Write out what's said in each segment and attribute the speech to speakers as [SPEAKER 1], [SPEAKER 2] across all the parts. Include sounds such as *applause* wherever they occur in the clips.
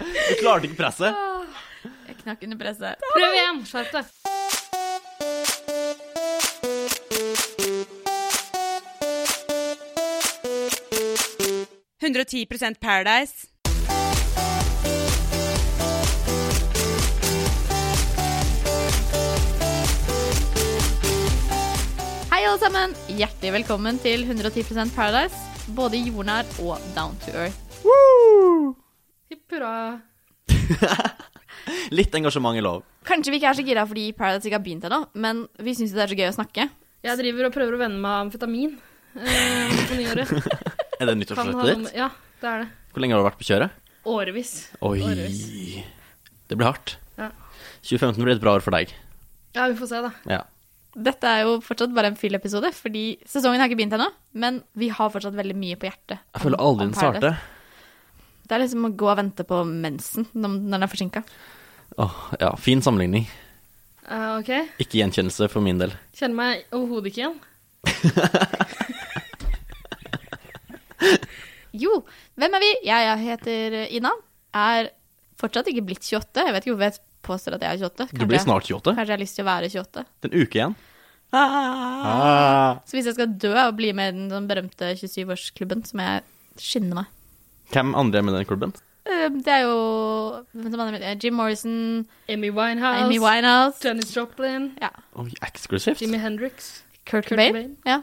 [SPEAKER 1] Du klarte ikke presset.
[SPEAKER 2] Jeg knakk under presset.
[SPEAKER 3] Prøv igjen. Skjerp deg.
[SPEAKER 4] Paradise.
[SPEAKER 2] Hei, alle sammen. Hjertelig velkommen til 110 Paradise. Både jordnær og down to earth.
[SPEAKER 3] Hipp hurra.
[SPEAKER 1] Litt engasjement i lov. *laughs*
[SPEAKER 2] Kanskje vi ikke er så gira fordi Paradise ikke har begynt ennå, men vi syns det er så gøy å snakke.
[SPEAKER 3] Jeg driver og prøver å venne meg av amfetamin eh, på nyåret.
[SPEAKER 1] Er *laughs* det
[SPEAKER 3] Kan ha noe
[SPEAKER 1] nyttårsforsettet
[SPEAKER 3] med-
[SPEAKER 1] ditt?
[SPEAKER 3] Ja, det er det.
[SPEAKER 1] Hvor lenge har du vært på kjøret?
[SPEAKER 3] Årevis.
[SPEAKER 1] Oi.
[SPEAKER 3] Årevis.
[SPEAKER 1] Det blir hardt.
[SPEAKER 3] Ja.
[SPEAKER 1] 2015 blir et bra år for deg.
[SPEAKER 3] Ja, vi får se, da.
[SPEAKER 1] Ja.
[SPEAKER 2] Dette er jo fortsatt bare en fyll-episode, fordi sesongen har ikke begynt ennå. Men vi har fortsatt veldig mye på hjertet.
[SPEAKER 1] Jeg føler
[SPEAKER 2] om-
[SPEAKER 1] aldri
[SPEAKER 2] om
[SPEAKER 1] den
[SPEAKER 2] Paradise.
[SPEAKER 1] starter.
[SPEAKER 2] Det er liksom å gå og vente på mensen når når den er forsinka.
[SPEAKER 1] Åh, ja, fin sammenligning.
[SPEAKER 3] Eh, OK.
[SPEAKER 1] Ikke gjenkjennelse for min del.
[SPEAKER 3] Kjenner meg overhodet ikke igjen.
[SPEAKER 2] Jo, hvem er vi? Jeg, jeg heter eh, Ina. Er fortsatt ikke blitt 28. Jeg vet ikke hvorfor jeg påstår at jeg er 28.
[SPEAKER 1] Du blir snart 28.
[SPEAKER 2] Kanskje jeg har lyst til å være 28.
[SPEAKER 1] Det er En uke igjen. Ah.
[SPEAKER 3] Ah.
[SPEAKER 2] Så hvis jeg skal dø og bli med i den sånn berømte 27-årsklubben, så må jeg skynde meg.
[SPEAKER 1] Hvem andre er med i den klubben?
[SPEAKER 2] Eh, Det er jo hvem som andre- eh, Jim Morrison,
[SPEAKER 3] Amy Winehouse.
[SPEAKER 2] Amy Winehouse,
[SPEAKER 3] Janis Joplin.
[SPEAKER 1] Oi, eksklusivt.
[SPEAKER 3] Jimmy Hendrix.
[SPEAKER 2] Kurt
[SPEAKER 3] Kurt
[SPEAKER 2] Cobain.
[SPEAKER 3] Cobain.
[SPEAKER 2] Ja.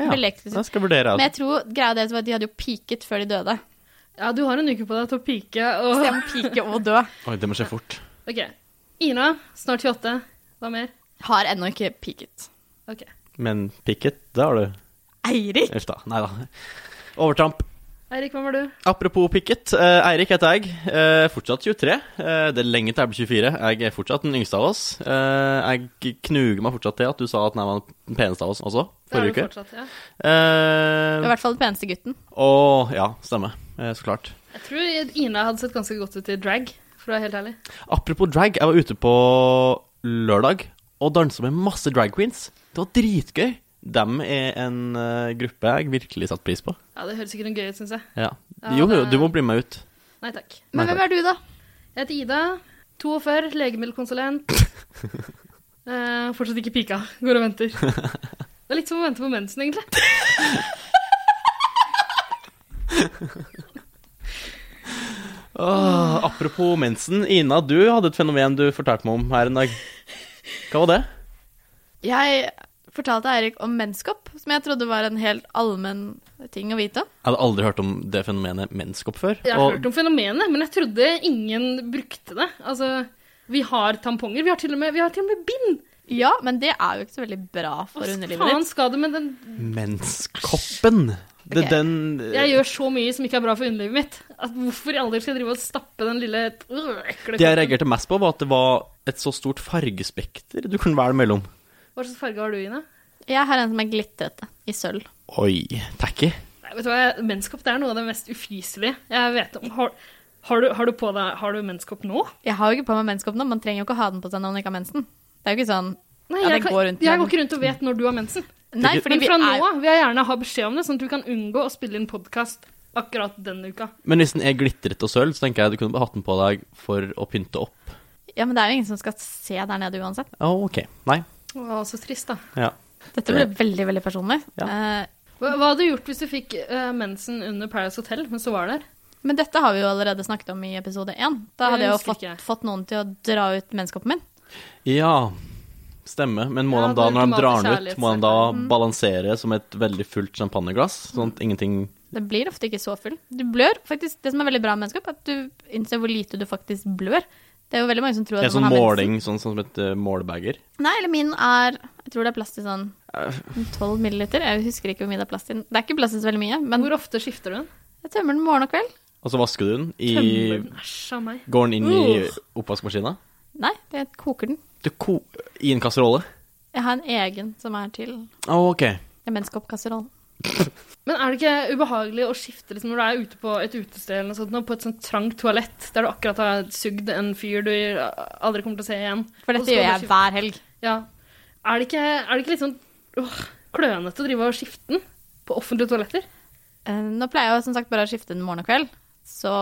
[SPEAKER 1] Ja,
[SPEAKER 2] Veldig eksklusivt.
[SPEAKER 1] jeg skal vurdere.
[SPEAKER 2] Men
[SPEAKER 1] Altså.
[SPEAKER 2] jeg tror greia deres var at de hadde jo peaket før de døde.
[SPEAKER 3] Ja, du har en uke på deg til å pike og
[SPEAKER 2] Så jeg må peake og dø.
[SPEAKER 1] Oi, det må skje fort.
[SPEAKER 3] OK. Ina, snart 28. Hva mer?
[SPEAKER 2] Har ennå ikke peaket.
[SPEAKER 3] OK.
[SPEAKER 1] Men picket, det har du.
[SPEAKER 2] Eirik!
[SPEAKER 1] Uff da. Nei da. Overtramp.
[SPEAKER 3] Eirik, hva var du?
[SPEAKER 1] Apropos picket. eh, Eirik heter jeg. Eh, fortsatt 23. Eh, det er lenge til jeg blir 24. Jeg er fortsatt den yngste av oss. Eh, jeg knuger meg fortsatt til at du sa at jeg var den peneste av oss også,
[SPEAKER 3] Det er
[SPEAKER 1] forrige
[SPEAKER 3] du
[SPEAKER 1] uke.
[SPEAKER 3] fortsatt,
[SPEAKER 2] Du
[SPEAKER 3] ja.
[SPEAKER 1] Eh,
[SPEAKER 2] er i hvert fall den peneste gutten.
[SPEAKER 1] og ja, stemmer. Eh, så klart.
[SPEAKER 3] Jeg tror Ina hadde sett ganske godt ut i drag, for å være helt ærlig.
[SPEAKER 1] Apropos drag, jeg var ute på lørdag og dansa med masse drag queens. Det var dritgøy. Dem er en eh, gruppe jeg virkelig satte pris på.
[SPEAKER 3] Ja, Det høres ikke noe gøy ut, syns jeg.
[SPEAKER 1] Ja.
[SPEAKER 3] Ja,
[SPEAKER 1] Jo,
[SPEAKER 3] det-
[SPEAKER 1] du må bli med ut.
[SPEAKER 3] Nei takk.
[SPEAKER 2] Men
[SPEAKER 1] Nei,
[SPEAKER 2] hvem er du, da?
[SPEAKER 3] Jeg heter Ida. 42, legemiddelkonsulent.
[SPEAKER 2] *laughs*
[SPEAKER 3] Eh, fortsatt ikke pika. Går og
[SPEAKER 2] *laughs*
[SPEAKER 3] venter. Det er litt som å vente på mensen, egentlig.
[SPEAKER 1] Åh, Ah, apropos mensen. Ina, du hadde et fenomen du fortalte meg om her en dag. Hva var det?
[SPEAKER 2] Jeg fortalte Eirik om menskopp, som jeg trodde var en helt allmenn ting å vite om.
[SPEAKER 1] Jeg hadde aldri hørt om det fenomenet menskopp før.
[SPEAKER 3] Jeg har
[SPEAKER 1] og
[SPEAKER 3] hørt om fenomenet, men jeg trodde ingen brukte det. Altså, vi har tamponger. Vi har til og med, vi har til og med bind!
[SPEAKER 2] Ja, men det er jo ikke så veldig bra for
[SPEAKER 3] Hva
[SPEAKER 2] underlivet
[SPEAKER 3] faen
[SPEAKER 2] ditt.
[SPEAKER 3] skal du med den?
[SPEAKER 1] menskoppen Det er
[SPEAKER 2] Ok.
[SPEAKER 1] den
[SPEAKER 3] Jeg gjør så mye som ikke er bra for underlivet mitt. At hvorfor i all del skal jeg drive og stappe den lille øh, ekle
[SPEAKER 1] Det jeg
[SPEAKER 3] koppen?
[SPEAKER 1] reagerte mest på, var at det var et så stort fargespekter du kunne velge mellom.
[SPEAKER 3] Hva slags farge har du, Ine?
[SPEAKER 2] Jeg har en som er glitrete, i sølv.
[SPEAKER 1] Oi, tacky.
[SPEAKER 3] Nei, vet du hva? jeg- Menskopp det er noe av det mest ufyselige jeg vet om. Har, har, du, har du på deg Har du menskopp nå?
[SPEAKER 2] Jeg har jo ikke på meg menskopp nå, man trenger jo ikke å ha den på seg når man ikke har mensen. Det er jo ikke sånn
[SPEAKER 3] Nei,
[SPEAKER 2] Ja,
[SPEAKER 3] jeg,
[SPEAKER 2] den
[SPEAKER 3] kan,
[SPEAKER 2] går rundt
[SPEAKER 3] jeg
[SPEAKER 2] med
[SPEAKER 3] går ikke rundt og vet når du har mensen.
[SPEAKER 2] Nei, fordi
[SPEAKER 3] Men
[SPEAKER 2] vi
[SPEAKER 3] fra nå
[SPEAKER 2] er
[SPEAKER 3] av vil jeg gjerne ha beskjed om det, sånn at du kan unngå å spille inn podkast akkurat den uka.
[SPEAKER 1] Men hvis den er glitret og sølv, så tenker jeg du kunne hatt den på deg for å pynte opp.
[SPEAKER 2] Ja, men det er jo ingen som skal se der nede uansett.
[SPEAKER 1] Å, ok. Nei.
[SPEAKER 3] Å, så trist, da.
[SPEAKER 1] Ja.
[SPEAKER 2] Dette ble veldig, veldig personlig.
[SPEAKER 1] Ja.
[SPEAKER 2] Eh,
[SPEAKER 3] Hva, hva hadde du gjort hvis du fikk eh, mensen under Paradise Hotel mens du var der?
[SPEAKER 2] men dette har vi jo allerede snakket om i episode én. Da
[SPEAKER 3] Jeg
[SPEAKER 2] hadde jeg jo
[SPEAKER 3] husker
[SPEAKER 2] fått,
[SPEAKER 3] ikke.
[SPEAKER 2] fått noen til å dra ut menskoppen min.
[SPEAKER 1] ja. Stemmer. Men må
[SPEAKER 3] Ja,
[SPEAKER 1] de da,
[SPEAKER 3] det
[SPEAKER 1] når de drar
[SPEAKER 3] ultimate
[SPEAKER 1] den ut, må de da
[SPEAKER 3] kjærlighetserklæringen.
[SPEAKER 1] balansere som et veldig fullt champagneglass? Sånn at ingenting
[SPEAKER 2] Den blir ofte ikke så full. Du blør faktisk. Det som er veldig bra med menneskeopp, er at du innser hvor lite du faktisk blør. Det er jo veldig mange som tror at
[SPEAKER 1] Det er sånn
[SPEAKER 2] man har mensen.
[SPEAKER 1] måling, sånn, sånn som et eh, målebeger.
[SPEAKER 2] Nei, eller min er Jeg tror det er plass til sånn 12 milliliter. Jeg husker ikke hvor mye det er plass til. Det er ikke plass til så veldig mye, men
[SPEAKER 3] Hvor ofte skifter du den?
[SPEAKER 2] jeg tømmer den morgen og kveld.
[SPEAKER 1] Og så vasker du den
[SPEAKER 3] Tømmer
[SPEAKER 1] i
[SPEAKER 3] den? Æsj a meg.
[SPEAKER 1] Går den inn i
[SPEAKER 3] Ugh.
[SPEAKER 1] oppvaskmaskina?
[SPEAKER 2] Nei, jeg koker den.
[SPEAKER 1] Du ko... I en kasserolle?
[SPEAKER 2] Jeg har en egen som er til
[SPEAKER 1] Å, ok.
[SPEAKER 2] menneskeoppkasserollen.
[SPEAKER 3] Men er det ikke ubehagelig å skifte liksom, når du er ute på et utested eller noe sånt, nå, på et sånt trangt toalett der du akkurat har sugd en fyr du aldri kommer til å se igjen?
[SPEAKER 2] For
[SPEAKER 3] Og
[SPEAKER 2] dette
[SPEAKER 3] så
[SPEAKER 2] gjør
[SPEAKER 3] bare
[SPEAKER 2] jeg
[SPEAKER 3] skifte-
[SPEAKER 2] hver helg.
[SPEAKER 3] Ja. Er det ikke, er det ikke litt sånn åh, klønete å drive og skifte den på offentlige toaletter?
[SPEAKER 2] Eh, Nå pleier jeg jo som sagt bare å skifte den morgen og kveld. Så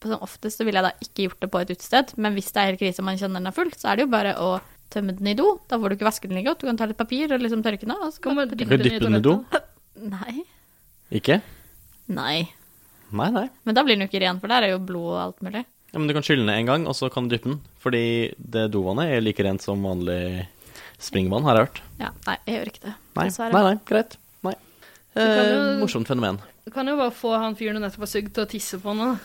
[SPEAKER 2] på sånn oftest så ville jeg da ikke gjort det på et utested. Men hvis det er helt krise og man kjenner den er full, så er det jo bare å tømme den i do. Da får du ikke vasket den like godt. Du kan ta litt papir og liksom tørke den av. og så kan
[SPEAKER 3] Kan man
[SPEAKER 2] du-
[SPEAKER 3] dyppe
[SPEAKER 1] Kan du dyppe den i do?
[SPEAKER 2] Nei.
[SPEAKER 1] Ikke?
[SPEAKER 2] Nei.
[SPEAKER 1] Nei, nei.
[SPEAKER 2] Men da blir den jo ikke ren, for der er jo blod og alt mulig.
[SPEAKER 1] Ja, men du kan skylle ned en gang, og så kan du dyppe den. Fordi det dovannet er like rent som vanlig springvann, har jeg hørt.
[SPEAKER 2] Ja, nei, jeg gjør ikke det.
[SPEAKER 1] Nei,
[SPEAKER 2] dessverre.
[SPEAKER 1] nei, nei greit. Nei. Eh,
[SPEAKER 3] kan jo-
[SPEAKER 1] morsomt fenomen.
[SPEAKER 3] Du kan jo bare få han fyren du nettopp har sugd, til å tisse på nå.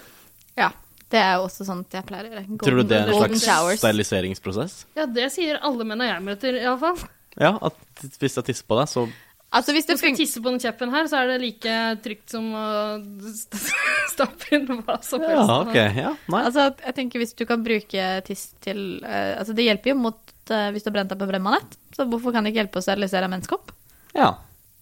[SPEAKER 2] Ja, det er jo også sånn at jeg pleier å gjøre.
[SPEAKER 1] Tror du det er en
[SPEAKER 2] golden
[SPEAKER 1] slags
[SPEAKER 2] showers.
[SPEAKER 1] steriliseringsprosess?
[SPEAKER 3] Ja, det sier alle menn jeg møter, iallfall.
[SPEAKER 1] Ja, at hvis jeg tisser på deg, så
[SPEAKER 2] Altså hvis det
[SPEAKER 3] Hvis du skal
[SPEAKER 2] funker
[SPEAKER 3] tisse på den kjeppen her, så er det like trygt som å *laughs* st- stappe inn hva som helst.
[SPEAKER 1] Ja, ok. Ja, nei.
[SPEAKER 2] Altså, jeg tenker hvis du kan bruke tiss til eh, Altså, det hjelper jo mot eh, hvis du har brent deg på brennmanett. Så hvorfor kan det ikke hjelpe å sterilisere en menneskehopp?
[SPEAKER 1] Ja.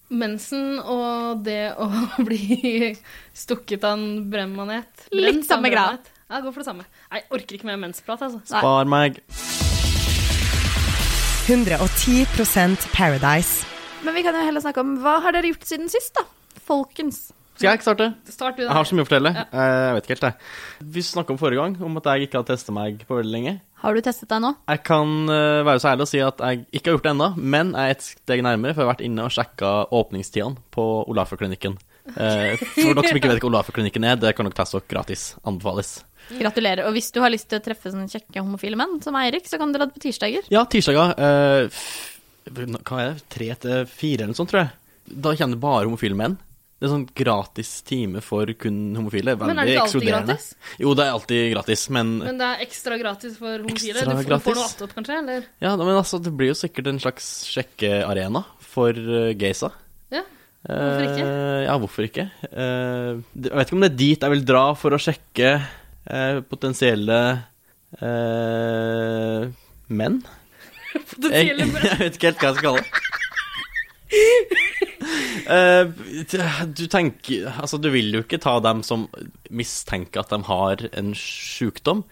[SPEAKER 3] Mensen og det å *laughs* bli stukket av en brennmanet.
[SPEAKER 2] Litt
[SPEAKER 3] Brent av
[SPEAKER 2] samme
[SPEAKER 3] en
[SPEAKER 2] grad.
[SPEAKER 3] brennmanet. Ja, jeg går for det samme. Nei, Jeg orker ikke mer mensprat, altså.
[SPEAKER 2] Nei.
[SPEAKER 1] Spar meg.
[SPEAKER 4] 110 Paradise.
[SPEAKER 2] Men vi kan jo heller snakke om hva har dere gjort siden sist, da? Folkens.
[SPEAKER 1] Skal jeg ikke starte?
[SPEAKER 3] Start du,
[SPEAKER 1] Jeg har så
[SPEAKER 3] da.
[SPEAKER 1] mye å fortelle. Eh, Jeg vet ikke helt, jeg. Vi snakka om forrige gang om at jeg ikke har testa meg på veldig lenge.
[SPEAKER 2] Har du testet deg nå?
[SPEAKER 1] Jeg kan eh, være så ærlig å si at jeg ikke har gjort det ennå, men jeg er et steg nærmere, for jeg har vært inne og sjekka åpningstidene på Olaferklinikken. Eh, for dere som ikke vet hva Olaferklinikken er, det kan dere teste dere gratis. Anbefales.
[SPEAKER 2] Gratulerer. Og hvis du har lyst til å treffe sånne kjekke homofile menn som Eirik, så kan dere dra på tirsdager.
[SPEAKER 1] Ja, tirsdager eh, f- Hva er det? Tre til fire eller noe sånt, tror jeg. Da kjenner bare homofile menn. Det er sånn gratis time for kun homofile. Veldig
[SPEAKER 3] Men er det ikke alltid
[SPEAKER 1] ekskluderende.
[SPEAKER 3] gratis?
[SPEAKER 1] Jo, det er alltid gratis, men,
[SPEAKER 3] Men det er ekstra gratis for homofile.
[SPEAKER 1] Ekstra
[SPEAKER 3] du får,
[SPEAKER 1] gratis.
[SPEAKER 3] får noe attåt, kanskje? Eller?
[SPEAKER 1] Ja, da, men altså, det blir jo sikkert en slags sjekkearena for uh, gaysa.
[SPEAKER 2] *laughs*
[SPEAKER 3] Ja. Hvorfor ikke?
[SPEAKER 1] Eh, ja, hvorfor ikke? Eh, det- jeg vet ikke om det er dit jeg vil dra for å sjekke eh, potensielle eh, menn. Jeg,
[SPEAKER 3] Potensielle menn.
[SPEAKER 1] *laughs* jeg vet ikke helt hva jeg skal kalle det. Eh, t- du tenker Altså, du vil jo ikke ta dem som mistenker at de har en sjukdom.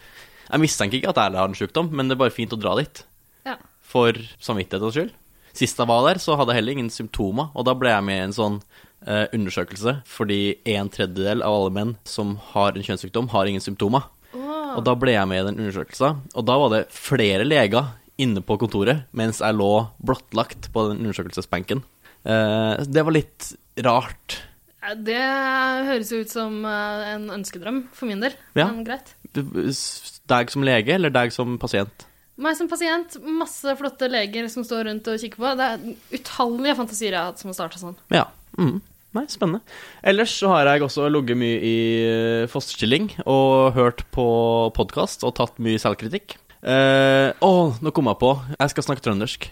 [SPEAKER 1] Jeg mistenker ikke at jeg har en sjukdom, men det er bare fint å dra dit
[SPEAKER 3] Ja.
[SPEAKER 1] for samvittighetens skyld. Sist jeg var der, så hadde jeg heller ingen symptomer, og da ble jeg med i en sånn eh, undersøkelse, fordi en tredjedel av alle menn som har en kjønnssykdom, har ingen symptomer. Og da ble jeg med i den undersøkelsen, og da var det flere leger inne på kontoret mens jeg lå blottlagt på den undersøkelsesbenken. Eh, det var litt rart.
[SPEAKER 3] Ja, Det høres jo ut som eh, en ønskedrøm for min del.
[SPEAKER 1] Ja.
[SPEAKER 3] Men greit.
[SPEAKER 1] Deg som lege, eller deg som pasient?
[SPEAKER 3] Meg som pasient, masse flotte leger som står rundt og kikker på. Det er utallige fantasier jeg har hatt som har starta sånn.
[SPEAKER 1] Ja. Mm. Nei, spennende. Ellers så har jeg også ligget mye i eh, fosterstilling og hørt på podkast og tatt mye selvkritikk. Eh, Å, nå kom jeg på. Jeg skal snakke trøndersk.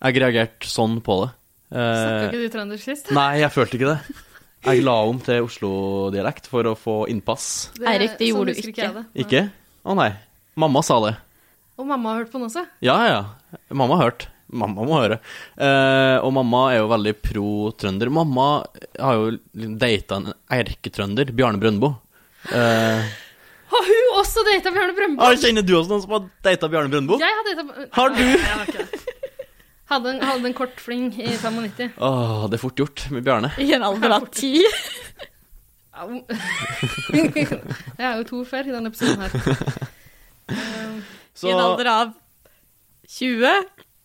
[SPEAKER 1] Jeg reagerte sånn på det.
[SPEAKER 3] Snakka
[SPEAKER 1] Eh,
[SPEAKER 3] ikke du trøndersk sist?
[SPEAKER 1] nei, jeg følte ikke det. Jeg la om til Oslo-dialekt for å få innpass.
[SPEAKER 3] Det-
[SPEAKER 2] Eirik, det
[SPEAKER 3] sånn
[SPEAKER 2] gjorde du
[SPEAKER 3] husker
[SPEAKER 2] ikke.
[SPEAKER 3] jeg det. Nei.
[SPEAKER 1] Ikke? Å nei. Mamma sa det.
[SPEAKER 3] Og mamma har hørt på den også.
[SPEAKER 1] Ja, ja, ja. Mamma har hørt. Mamma må høre. Eh, og mamma er jo veldig pro trønder. Mamma har jo data en erketrønder, Bjarne Brøndbo. Eh,
[SPEAKER 3] Har hun også data Bjørne Brøndbo?
[SPEAKER 1] ah, kjenner du også noen som har data Bjarne Brøndbo?
[SPEAKER 3] Jeg har data
[SPEAKER 1] Har du?
[SPEAKER 3] Nei, jeg har ikke det. Hadde en, hadde en kort fling i 95.
[SPEAKER 1] Åh, det er fort gjort med Bjarne.
[SPEAKER 2] I en alder av *laughs* ti.
[SPEAKER 3] Au. *laughs* Jeg er jo to før i denne episoden her.
[SPEAKER 1] Så
[SPEAKER 2] I en alder av 20.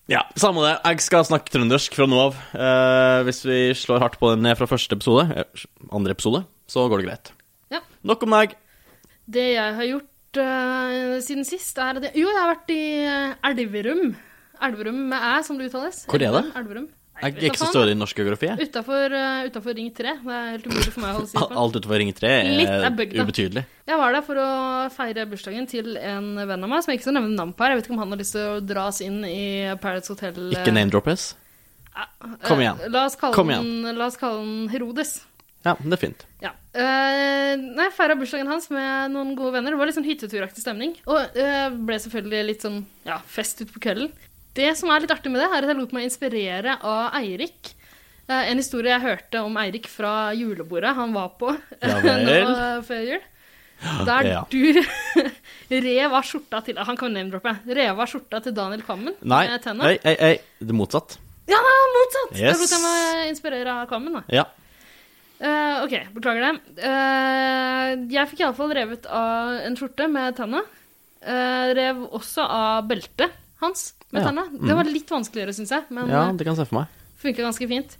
[SPEAKER 1] ja, samme det. Jeg skal snakke trøndersk fra nå av. Eh, hvis vi slår hardt på den ned fra første episode, eh, andre episode, så går det greit.
[SPEAKER 3] Ja.
[SPEAKER 1] Nok om meg.
[SPEAKER 3] Det jeg har gjort eh, siden sist, er det Jo, jeg har vært i eh, Elverum. Elverum med æ, som det uttales.
[SPEAKER 1] Hvor er det?
[SPEAKER 3] Elverum, Elverum.
[SPEAKER 1] Jeg er ikke så stødig i norsk geografi. jeg.
[SPEAKER 3] Utafor Ring 3. Det er helt umulig for meg å holde styr på.
[SPEAKER 1] Alt utover Ring 3
[SPEAKER 3] Litt
[SPEAKER 1] er
[SPEAKER 3] er bygda.
[SPEAKER 1] ubetydelig.
[SPEAKER 3] Jeg var der for å feire bursdagen til en venn av meg, som jeg ikke skal nevne navn på her. Jeg vet ikke om han har lyst til å dras inn i Paradise Hotel. eh,
[SPEAKER 1] Ikke name-droppes. Kom igjen.
[SPEAKER 3] La oss kalle,
[SPEAKER 1] Kom
[SPEAKER 3] Den, la oss kalle den Herodes.
[SPEAKER 1] Ja, men det er fint.
[SPEAKER 3] Ja. Eh, nei, jeg feira bursdagen hans med noen gode venner. Det var litt sånn hytteturaktig stemning. Og eh, ble selvfølgelig litt sånn ja, fest utpå kvelden. Det som er litt artig med det, er at jeg lot meg inspirere av Eirik. Eh, en historie jeg hørte om Eirik fra julebordet han var på *laughs*
[SPEAKER 1] Ja vel.
[SPEAKER 3] nå før jul. Der
[SPEAKER 1] Ja.
[SPEAKER 3] du *laughs* rev av skjorta til Han kan name-droppe. Rev av skjorta til Daniel Kvammen
[SPEAKER 1] Nei,
[SPEAKER 3] med tenna.
[SPEAKER 1] ei, ei, ei. Det er motsatt.
[SPEAKER 3] Ja, motsatt! Da
[SPEAKER 1] Yes.
[SPEAKER 3] lot jeg meg inspirere av Kvammen, da.
[SPEAKER 1] Ja.
[SPEAKER 3] Eh, OK, beklager det. Eh, jeg fikk iallfall revet av en skjorte med tanna. Eh, rev også av beltet hans med
[SPEAKER 1] Ja. Mm.
[SPEAKER 3] tanna. Det var litt vanskeligere, syns jeg, men
[SPEAKER 1] Ja,
[SPEAKER 3] eh,
[SPEAKER 1] det kan jeg se for meg.
[SPEAKER 3] funka ganske fint.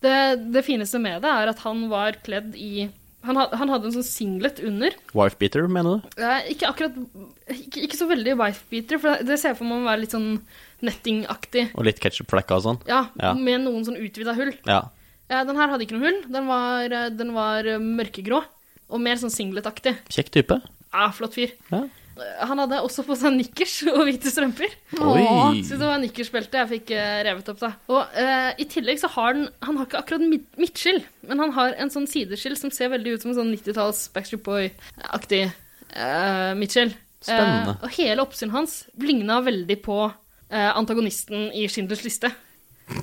[SPEAKER 3] Det, det fineste med det er at han var kledd i Han, ha- han hadde en sånn singlet under.
[SPEAKER 1] Wife beater, mener du?
[SPEAKER 3] Eh, ikke akkurat ikke, ikke så veldig wife-beater, for det- det ser jeg for meg å være litt sånn nettingaktig.
[SPEAKER 1] Og litt ketchup-flekka og sånn?
[SPEAKER 3] Ja,
[SPEAKER 1] Ja.
[SPEAKER 3] med noen sånn utvida hull.
[SPEAKER 1] Ja.
[SPEAKER 3] Eh, den her hadde ikke noe hull. Den var, eh, den var eh, mørkegrå. Og mer sånn singletaktig.
[SPEAKER 1] Kjekk type.
[SPEAKER 3] Ja, flott fyr.
[SPEAKER 1] Ja.
[SPEAKER 3] Eh, Han hadde også på seg nikkers og hvite strømper.
[SPEAKER 1] Oi.
[SPEAKER 3] Så det var nikkersbeltet jeg fikk eh, revet opp, da. Og eh, i tillegg så har den Han har ikke akkurat mid midtskill, men han har en sånn sideskill som ser veldig ut som en sånn 90-talls Backstreet Boy-aktig eh, midtskill. Eh,
[SPEAKER 1] Spennende.
[SPEAKER 3] og hele oppsynet hans ligna veldig på eh, antagonisten i Schindlers liste. *laughs*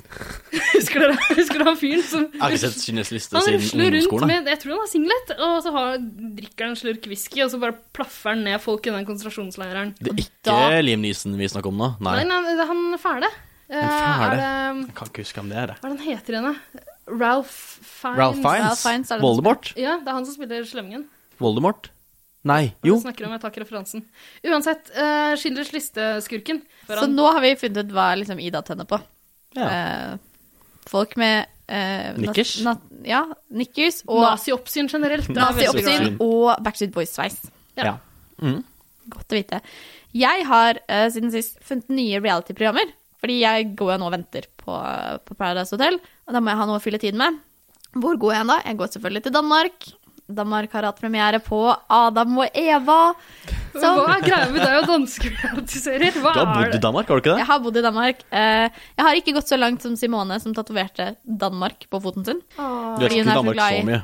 [SPEAKER 3] husker dere husker dere han fyren som
[SPEAKER 1] Jeg har ikke sett Kines liste
[SPEAKER 3] han
[SPEAKER 1] siden
[SPEAKER 3] rusler rundt
[SPEAKER 1] ungdomsskolen. jeg.
[SPEAKER 3] med Jeg tror han har singlet, og så har, drikker han en slurk whisky, og så bare plaffer han ned folk i den konsentrasjonsleiren.
[SPEAKER 1] Det er ikke
[SPEAKER 2] Da-
[SPEAKER 1] Liam Neeson vi snakker om nå. Nei.
[SPEAKER 3] Nei, nei, det er han fæle. Eh,
[SPEAKER 1] fæle?
[SPEAKER 3] Er det,
[SPEAKER 1] Jeg kan ikke huske om det er det.
[SPEAKER 3] hva er det han heter igjen, da? Ralph Fiennes.
[SPEAKER 2] Ralph
[SPEAKER 1] Ralph Fiennes?
[SPEAKER 2] Fiennes er det
[SPEAKER 1] Voldemort?
[SPEAKER 3] Ja, det er han som spiller slemmingen.
[SPEAKER 1] Voldemort? Nei.
[SPEAKER 3] Jo.
[SPEAKER 1] Jo.
[SPEAKER 3] Snakker om, jeg tar ikke referansen. Uansett, uh, Schindlers liste-skurken. For
[SPEAKER 2] Så
[SPEAKER 3] han-
[SPEAKER 2] nå har vi funnet ut hva liksom Ida tenner på.
[SPEAKER 1] Ja.
[SPEAKER 2] Eh, folk med eh, nat-
[SPEAKER 1] Nikkers?
[SPEAKER 2] nat- ja, nikkers og
[SPEAKER 3] Nazi-oppsyn generelt. det er veldig bra.
[SPEAKER 2] Nazi-oppsyn
[SPEAKER 1] Nazi-oppsyn.
[SPEAKER 2] og Backstreet Boys-sveis.
[SPEAKER 1] ja.
[SPEAKER 2] *laughs*
[SPEAKER 1] Mm.
[SPEAKER 2] Godt å vite. Jeg har eh, siden sist funnet nye reality-programmer. Fordi jeg går jo nå og venter på, på Paradise Hotel, og da må jeg ha noe å fylle tiden med. Hvor går jeg hen da? Jeg går selvfølgelig til Danmark. Danmark har hatt premiere på Adam og Eva. Som
[SPEAKER 3] Hva er greia med deg og danske realityserier? Hva
[SPEAKER 1] Du har
[SPEAKER 3] er
[SPEAKER 1] bodd i
[SPEAKER 3] det?
[SPEAKER 1] Danmark, har du ikke det?
[SPEAKER 2] jeg har bodd i Danmark. Eh, Jeg har ikke gått så langt som Simone, som tatoverte Danmark på foten sin.
[SPEAKER 3] Ah.
[SPEAKER 1] Du er
[SPEAKER 2] Fordi hun
[SPEAKER 1] ikke i
[SPEAKER 2] er så
[SPEAKER 1] Danmark
[SPEAKER 2] glad i-
[SPEAKER 1] så mye.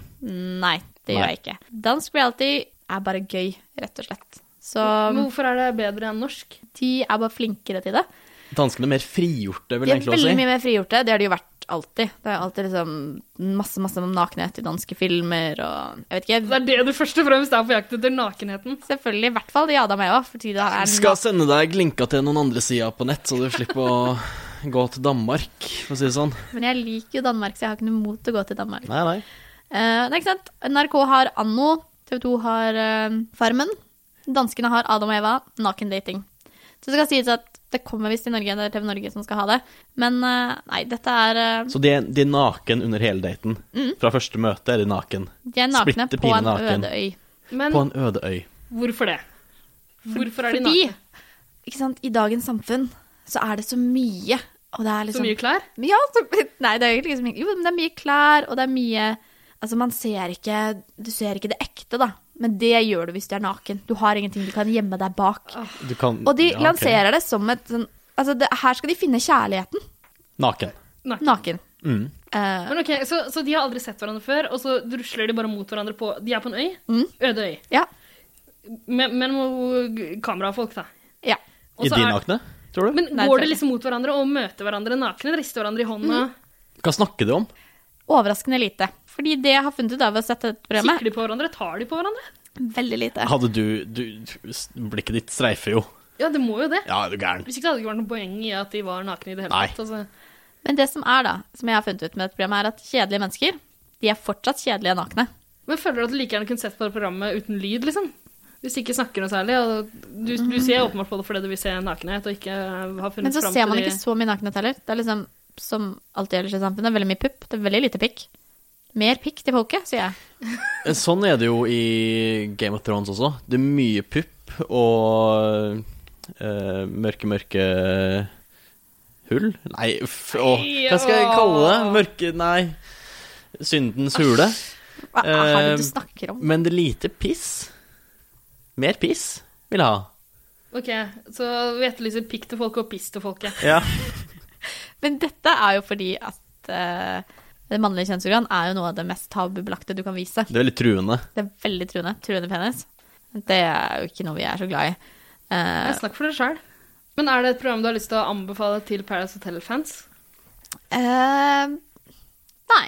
[SPEAKER 2] Nei, det gjør
[SPEAKER 1] Nei.
[SPEAKER 2] jeg ikke. Dansk reality er bare gøy, rett og slett. Så
[SPEAKER 3] Men hvorfor er det bedre enn norsk?
[SPEAKER 2] de er bare flinkere til det.
[SPEAKER 1] Danskene er mer frigjorte, vil
[SPEAKER 2] De
[SPEAKER 1] jeg
[SPEAKER 2] er
[SPEAKER 1] egentlig også
[SPEAKER 2] veldig
[SPEAKER 1] si.
[SPEAKER 2] mye mer frigjorte. Det har de jo vært alltid. Det er alltid liksom masse, masse nakenhet i danske filmer og Jeg vet
[SPEAKER 3] Det
[SPEAKER 2] ikke.
[SPEAKER 3] er det du først og fremst er på jakt etter, nakenheten.
[SPEAKER 2] Selvfølgelig. I hvert fall de Adam og Eva. Fordi det er
[SPEAKER 1] Skal sende deg linka til noen andre sider på nett, så du slipper å gå til Danmark, for å si det sånn.
[SPEAKER 2] Men jeg liker jo Danmark, så jeg har ikke noe mot å gå til Danmark.
[SPEAKER 1] Nei, nei.
[SPEAKER 2] Eh, nei, ikke sant? NRK har Anno, TV 2 har eh, Farmen. Danskene har Adam og Eva, nakendating. Så det skal sies at det kommer visst i Norge, det er TV Norge som skal ha det. Men eh, nei, dette er eh,
[SPEAKER 1] Så de er, de er naken under hele daten.
[SPEAKER 3] Mm.
[SPEAKER 1] Fra første møte er de naken.
[SPEAKER 2] De er nakne
[SPEAKER 1] Splitter
[SPEAKER 2] på
[SPEAKER 1] pine
[SPEAKER 2] en
[SPEAKER 1] naken.
[SPEAKER 2] øde øy.
[SPEAKER 3] Men
[SPEAKER 1] På en øde øy.
[SPEAKER 3] hvorfor det? Hvorfor er de
[SPEAKER 2] Fordi,
[SPEAKER 3] nakne?
[SPEAKER 2] ikke sant, i dagens samfunn så er det så mye, og det er
[SPEAKER 3] Så
[SPEAKER 2] liksom
[SPEAKER 3] mye klær?
[SPEAKER 2] Ja, så, *laughs* nei, det er egentlig ikke så mye. Jo, men det er mye klær, og det er mye Altså, man ser ikke Du ser ikke det ekte, da. Men det gjør du hvis du er naken. Du har ingenting du kan gjemme deg bak.
[SPEAKER 3] Ah.
[SPEAKER 1] Du kan
[SPEAKER 2] Og de
[SPEAKER 1] ja, ok.
[SPEAKER 2] lanserer det som et sånn Altså, det, her skal de finne kjærligheten.
[SPEAKER 1] Naken.
[SPEAKER 3] Naken.
[SPEAKER 2] Naken.
[SPEAKER 1] Mm.
[SPEAKER 2] Eh,
[SPEAKER 3] Men ok, så, så de har aldri sett hverandre før, og så rusler de bare mot hverandre på De er på en øy? Øde
[SPEAKER 2] mm.
[SPEAKER 3] øy.
[SPEAKER 2] ja.
[SPEAKER 3] Men, men hvor- kamerafolk, da.
[SPEAKER 2] ja.
[SPEAKER 3] Og
[SPEAKER 1] I
[SPEAKER 3] så
[SPEAKER 1] de
[SPEAKER 3] er-
[SPEAKER 1] nakne, tror du?
[SPEAKER 3] Men
[SPEAKER 2] Nei,
[SPEAKER 3] går
[SPEAKER 2] det- Mm.
[SPEAKER 3] de liksom mot hverandre og møter hverandre nakne? Rister hverandre i hånda?
[SPEAKER 1] Hva snakker de om?
[SPEAKER 2] Overraskende lite. Fordi det jeg har funnet ut av å sette dette
[SPEAKER 3] Kikker
[SPEAKER 2] programmet,
[SPEAKER 3] de på hverandre? Tar de på hverandre?
[SPEAKER 2] veldig lite.
[SPEAKER 1] Hadde du, du s- Blikket ditt streifer jo.
[SPEAKER 3] Ja, det må jo det.
[SPEAKER 1] Ja, er du gæren?
[SPEAKER 3] Hvis ikke det hadde ikke vært noe poeng i at de var nakne i det hele
[SPEAKER 1] Nei.
[SPEAKER 3] tatt. Altså.
[SPEAKER 2] Men det som er, da, som jeg har funnet ut med dette programmet, er at kjedelige mennesker, de er fortsatt kjedelige nakne.
[SPEAKER 3] Men føler du at du like gjerne kunne sett på det programmet uten lyd, liksom? Hvis de ikke snakker noe særlig. Og du, du ser åpenbart på det fordi du vil se nakenhet og ikke har
[SPEAKER 2] Mhm. Men
[SPEAKER 3] funnet
[SPEAKER 2] så
[SPEAKER 3] fram
[SPEAKER 2] ser man
[SPEAKER 3] til de-
[SPEAKER 2] ikke så mye nakenhet heller. Det er liksom, som alltid ellers i samfunnet, veldig mye pupp. Det er veldig lite pikk. Mer pikk til folket, sier jeg.
[SPEAKER 1] Sånn er det jo i Game of Thrones også. Det er mye pupp og eh, mørke, mørke hull? Nei, f åh, hva skal jeg kalle det? Mørke Nei. Syndens hule.
[SPEAKER 2] Hva er det
[SPEAKER 1] Eh,
[SPEAKER 2] du
[SPEAKER 3] Um,
[SPEAKER 2] snakker om?
[SPEAKER 1] Men det er lite piss. Mer piss vil jeg ha.
[SPEAKER 3] Ok, så vi etterlyser pikk til folket og piss til folket.
[SPEAKER 1] Ja.
[SPEAKER 2] Men dette er jo fordi at eh, det mannlige kjønnsorgan er jo noe av det mest tabubelagte du kan vise.
[SPEAKER 1] Det er veldig truende.
[SPEAKER 2] Det er veldig truende. Truende penis. Det er jo ikke noe vi er så glad i. Eh,
[SPEAKER 3] Jeg snakker for deg sjøl. Men er det et program du har lyst til å anbefale til Paradise Hotel-fans?
[SPEAKER 2] eh, nei.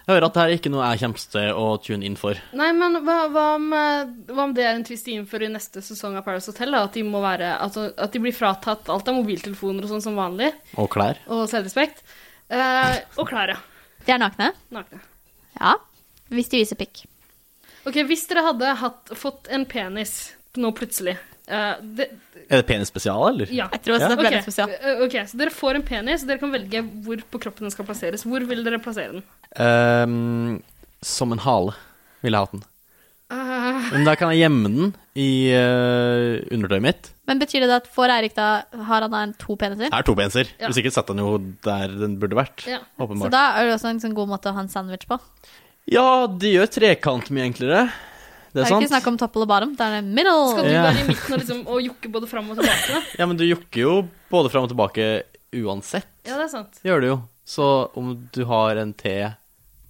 [SPEAKER 1] Jeg hører at det her er ikke noe jeg kommer til å tune inn for.
[SPEAKER 3] Nei, men hva, hva, om, eh, hva om det er en twist de innfører i neste sesong av Paradise Hotel? Da? At, de må være, altså, at de blir fratatt alt av mobiltelefoner og sånn som vanlig,
[SPEAKER 1] Og klær.
[SPEAKER 3] og selvrespekt. Eh, og klær, ja.
[SPEAKER 2] De er nakne.
[SPEAKER 3] Nakne.
[SPEAKER 2] Ja. Hvis de viser pikk.
[SPEAKER 3] Ok, Hvis dere hadde hatt, fått en penis nå plutselig eh, det,
[SPEAKER 1] Er det penisspesial, eller?
[SPEAKER 3] Ja.
[SPEAKER 2] Jeg tror også
[SPEAKER 1] Ja.
[SPEAKER 2] det ble
[SPEAKER 3] Ok,
[SPEAKER 2] litt spesielt.
[SPEAKER 3] eh, ok, Så dere får en penis, og dere kan velge hvor på kroppen den skal plasseres. Hvor vil dere plassere den?
[SPEAKER 1] Ehm, som en hale ville jeg hatt den.
[SPEAKER 3] Eh,
[SPEAKER 1] Men da kan jeg gjemme den i eh, undertøyet mitt.
[SPEAKER 2] Men betyr det da at får Eirik da Har han da en to peniser?
[SPEAKER 1] Det er to peniser.
[SPEAKER 3] Ja.
[SPEAKER 1] Hvis ikke satt den jo der den burde vært.
[SPEAKER 3] ja.
[SPEAKER 2] Så
[SPEAKER 1] Åpenbart.
[SPEAKER 2] da er det også en sånn god måte å ha en sandwich på.
[SPEAKER 1] Ja, det gjør trekant mye enklere. Det
[SPEAKER 2] Det
[SPEAKER 1] er,
[SPEAKER 2] er ikke
[SPEAKER 1] sant.
[SPEAKER 2] snakk om topple og bottom, det er en
[SPEAKER 3] Skal du
[SPEAKER 2] middle.
[SPEAKER 1] Ja.
[SPEAKER 3] være i midten og, liksom, og jukke både fram og tilbake? Da?
[SPEAKER 1] Ja, men du jukker jo både fram og tilbake uansett.
[SPEAKER 3] *laughs* Ja, det er sant.
[SPEAKER 1] Gjør du jo. Så om du har en T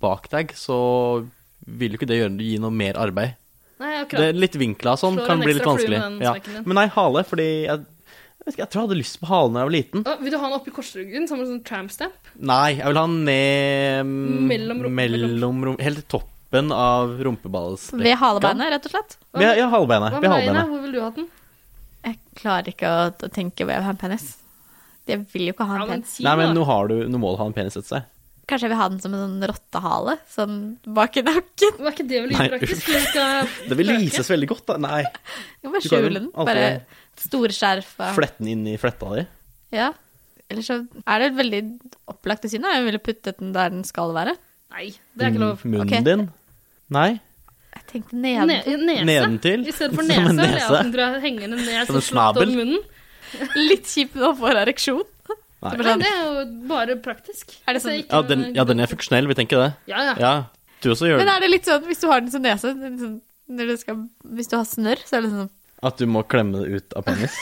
[SPEAKER 1] bak deg, så vil jo ikke det gjøre, gi noe mer arbeid.
[SPEAKER 3] Nei, akkurat.
[SPEAKER 1] Det er litt vinkla sånn
[SPEAKER 3] Slår
[SPEAKER 1] kan
[SPEAKER 3] en
[SPEAKER 1] bli litt
[SPEAKER 3] ekstra flue
[SPEAKER 1] vanskelig.
[SPEAKER 3] med den
[SPEAKER 1] Ja.
[SPEAKER 3] smekken din.
[SPEAKER 1] Men nei, hale, fordi jeg, jeg, vet ikke, jeg tror jeg hadde lyst på halen da jeg var liten.
[SPEAKER 3] Å, vil du ha den oppi korsryggen, som en sånn tramp stamp?
[SPEAKER 1] Nei, jeg vil ha den ned mm,
[SPEAKER 3] Mellom rumpe-
[SPEAKER 1] mellom rum- Helt til toppen av rumpeballstrekka.
[SPEAKER 2] Ved halebeinet, rett og slett.
[SPEAKER 1] Ved- Ja, halebeinet.
[SPEAKER 3] Hva
[SPEAKER 1] Ved
[SPEAKER 3] med øynene?
[SPEAKER 1] halebeinet.
[SPEAKER 3] Hvor vil du ha den?
[SPEAKER 2] Jeg klarer ikke å å tenke hvor jeg vil ha en penis. Jeg vil jo ikke ha
[SPEAKER 3] Ja,
[SPEAKER 2] en
[SPEAKER 3] men
[SPEAKER 2] penis.
[SPEAKER 3] si
[SPEAKER 1] Nei, men
[SPEAKER 3] noe,
[SPEAKER 1] nå, har du, nå må du ha en penis etter seg.
[SPEAKER 2] Kanskje jeg vil ha den som en sånn rottehale, sånn bak i nakken.
[SPEAKER 3] da. Var ikke det veldig
[SPEAKER 1] Nei,
[SPEAKER 3] upraktisk? for du skal
[SPEAKER 1] Det vil
[SPEAKER 3] røke.
[SPEAKER 1] vises veldig godt, da. Nei.
[SPEAKER 2] Jeg kan bare
[SPEAKER 1] Du kan jo
[SPEAKER 2] skjule den.
[SPEAKER 1] alltid-
[SPEAKER 2] Bare storskjerf. og-
[SPEAKER 1] Flette den inn i fletta di.
[SPEAKER 2] Ja. Eller så er det veldig opplagt å si noe. Jeg ville puttet den der den skal være.
[SPEAKER 3] Nei, det er ikke lov.
[SPEAKER 1] Mm, Munnen
[SPEAKER 2] Ok.
[SPEAKER 1] din. Nei.
[SPEAKER 2] Jeg tenkte neden.
[SPEAKER 3] Ne nese.
[SPEAKER 1] Nedentil.
[SPEAKER 3] I stedet for
[SPEAKER 1] *laughs* Som en
[SPEAKER 3] nese, vil jeg
[SPEAKER 1] nese.
[SPEAKER 3] at den drar hengende ned
[SPEAKER 1] Som en
[SPEAKER 3] så slapp over
[SPEAKER 1] snabel.
[SPEAKER 3] munnen.
[SPEAKER 2] *laughs* Litt kjipt å få ereksjon.
[SPEAKER 1] Nei.
[SPEAKER 2] Det er bare
[SPEAKER 3] Nei,
[SPEAKER 2] sånn,
[SPEAKER 3] det er jo bare praktisk.
[SPEAKER 2] Er det
[SPEAKER 3] Så
[SPEAKER 2] sånn-
[SPEAKER 3] ikke-
[SPEAKER 1] Ja, den, ja, den er funksjonell, vi tenker det.
[SPEAKER 3] Ja, ja.
[SPEAKER 1] Ja. Du også gjør
[SPEAKER 2] Men
[SPEAKER 1] det.
[SPEAKER 2] er det litt sånn hvis du har den som nese det er litt sånn, når du skal, Hvis du har snørr, så er det sånn
[SPEAKER 1] At du må klemme det ut av penis.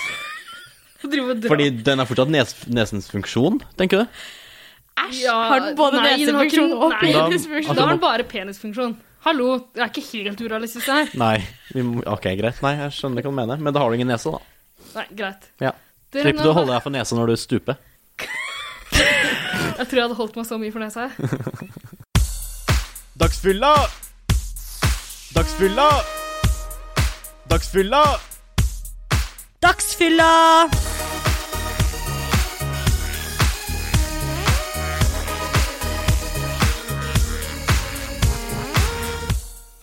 [SPEAKER 3] Drive og dra.
[SPEAKER 1] Fordi den har fortsatt nes, nesens funksjon, tenker du?
[SPEAKER 2] Æsj!
[SPEAKER 3] Ja,
[SPEAKER 2] har den både
[SPEAKER 3] nei, den har ikke-
[SPEAKER 2] nesefunksjon og
[SPEAKER 3] nei.
[SPEAKER 1] at
[SPEAKER 2] penisfunksjon?
[SPEAKER 1] du
[SPEAKER 3] Da har
[SPEAKER 1] må-
[SPEAKER 3] den bare penisfunksjon. Hallo, det er ikke helt urealistisk det her.
[SPEAKER 1] Nei. Vi må, ok, greit. Nei, jeg skjønner hva du mener. Men da har du ingen nese, da.
[SPEAKER 3] Nei, greit.
[SPEAKER 1] Ja.
[SPEAKER 3] Dere,
[SPEAKER 1] Slipper du
[SPEAKER 3] nå-
[SPEAKER 1] å holde deg for nesa når du stuper.
[SPEAKER 3] Jeg tror jeg hadde holdt meg så mye for nesa. her.
[SPEAKER 1] Dagsfylla! Dagsfylla! Dagsfylla!
[SPEAKER 4] Dagsfylla!
[SPEAKER 2] *laughs*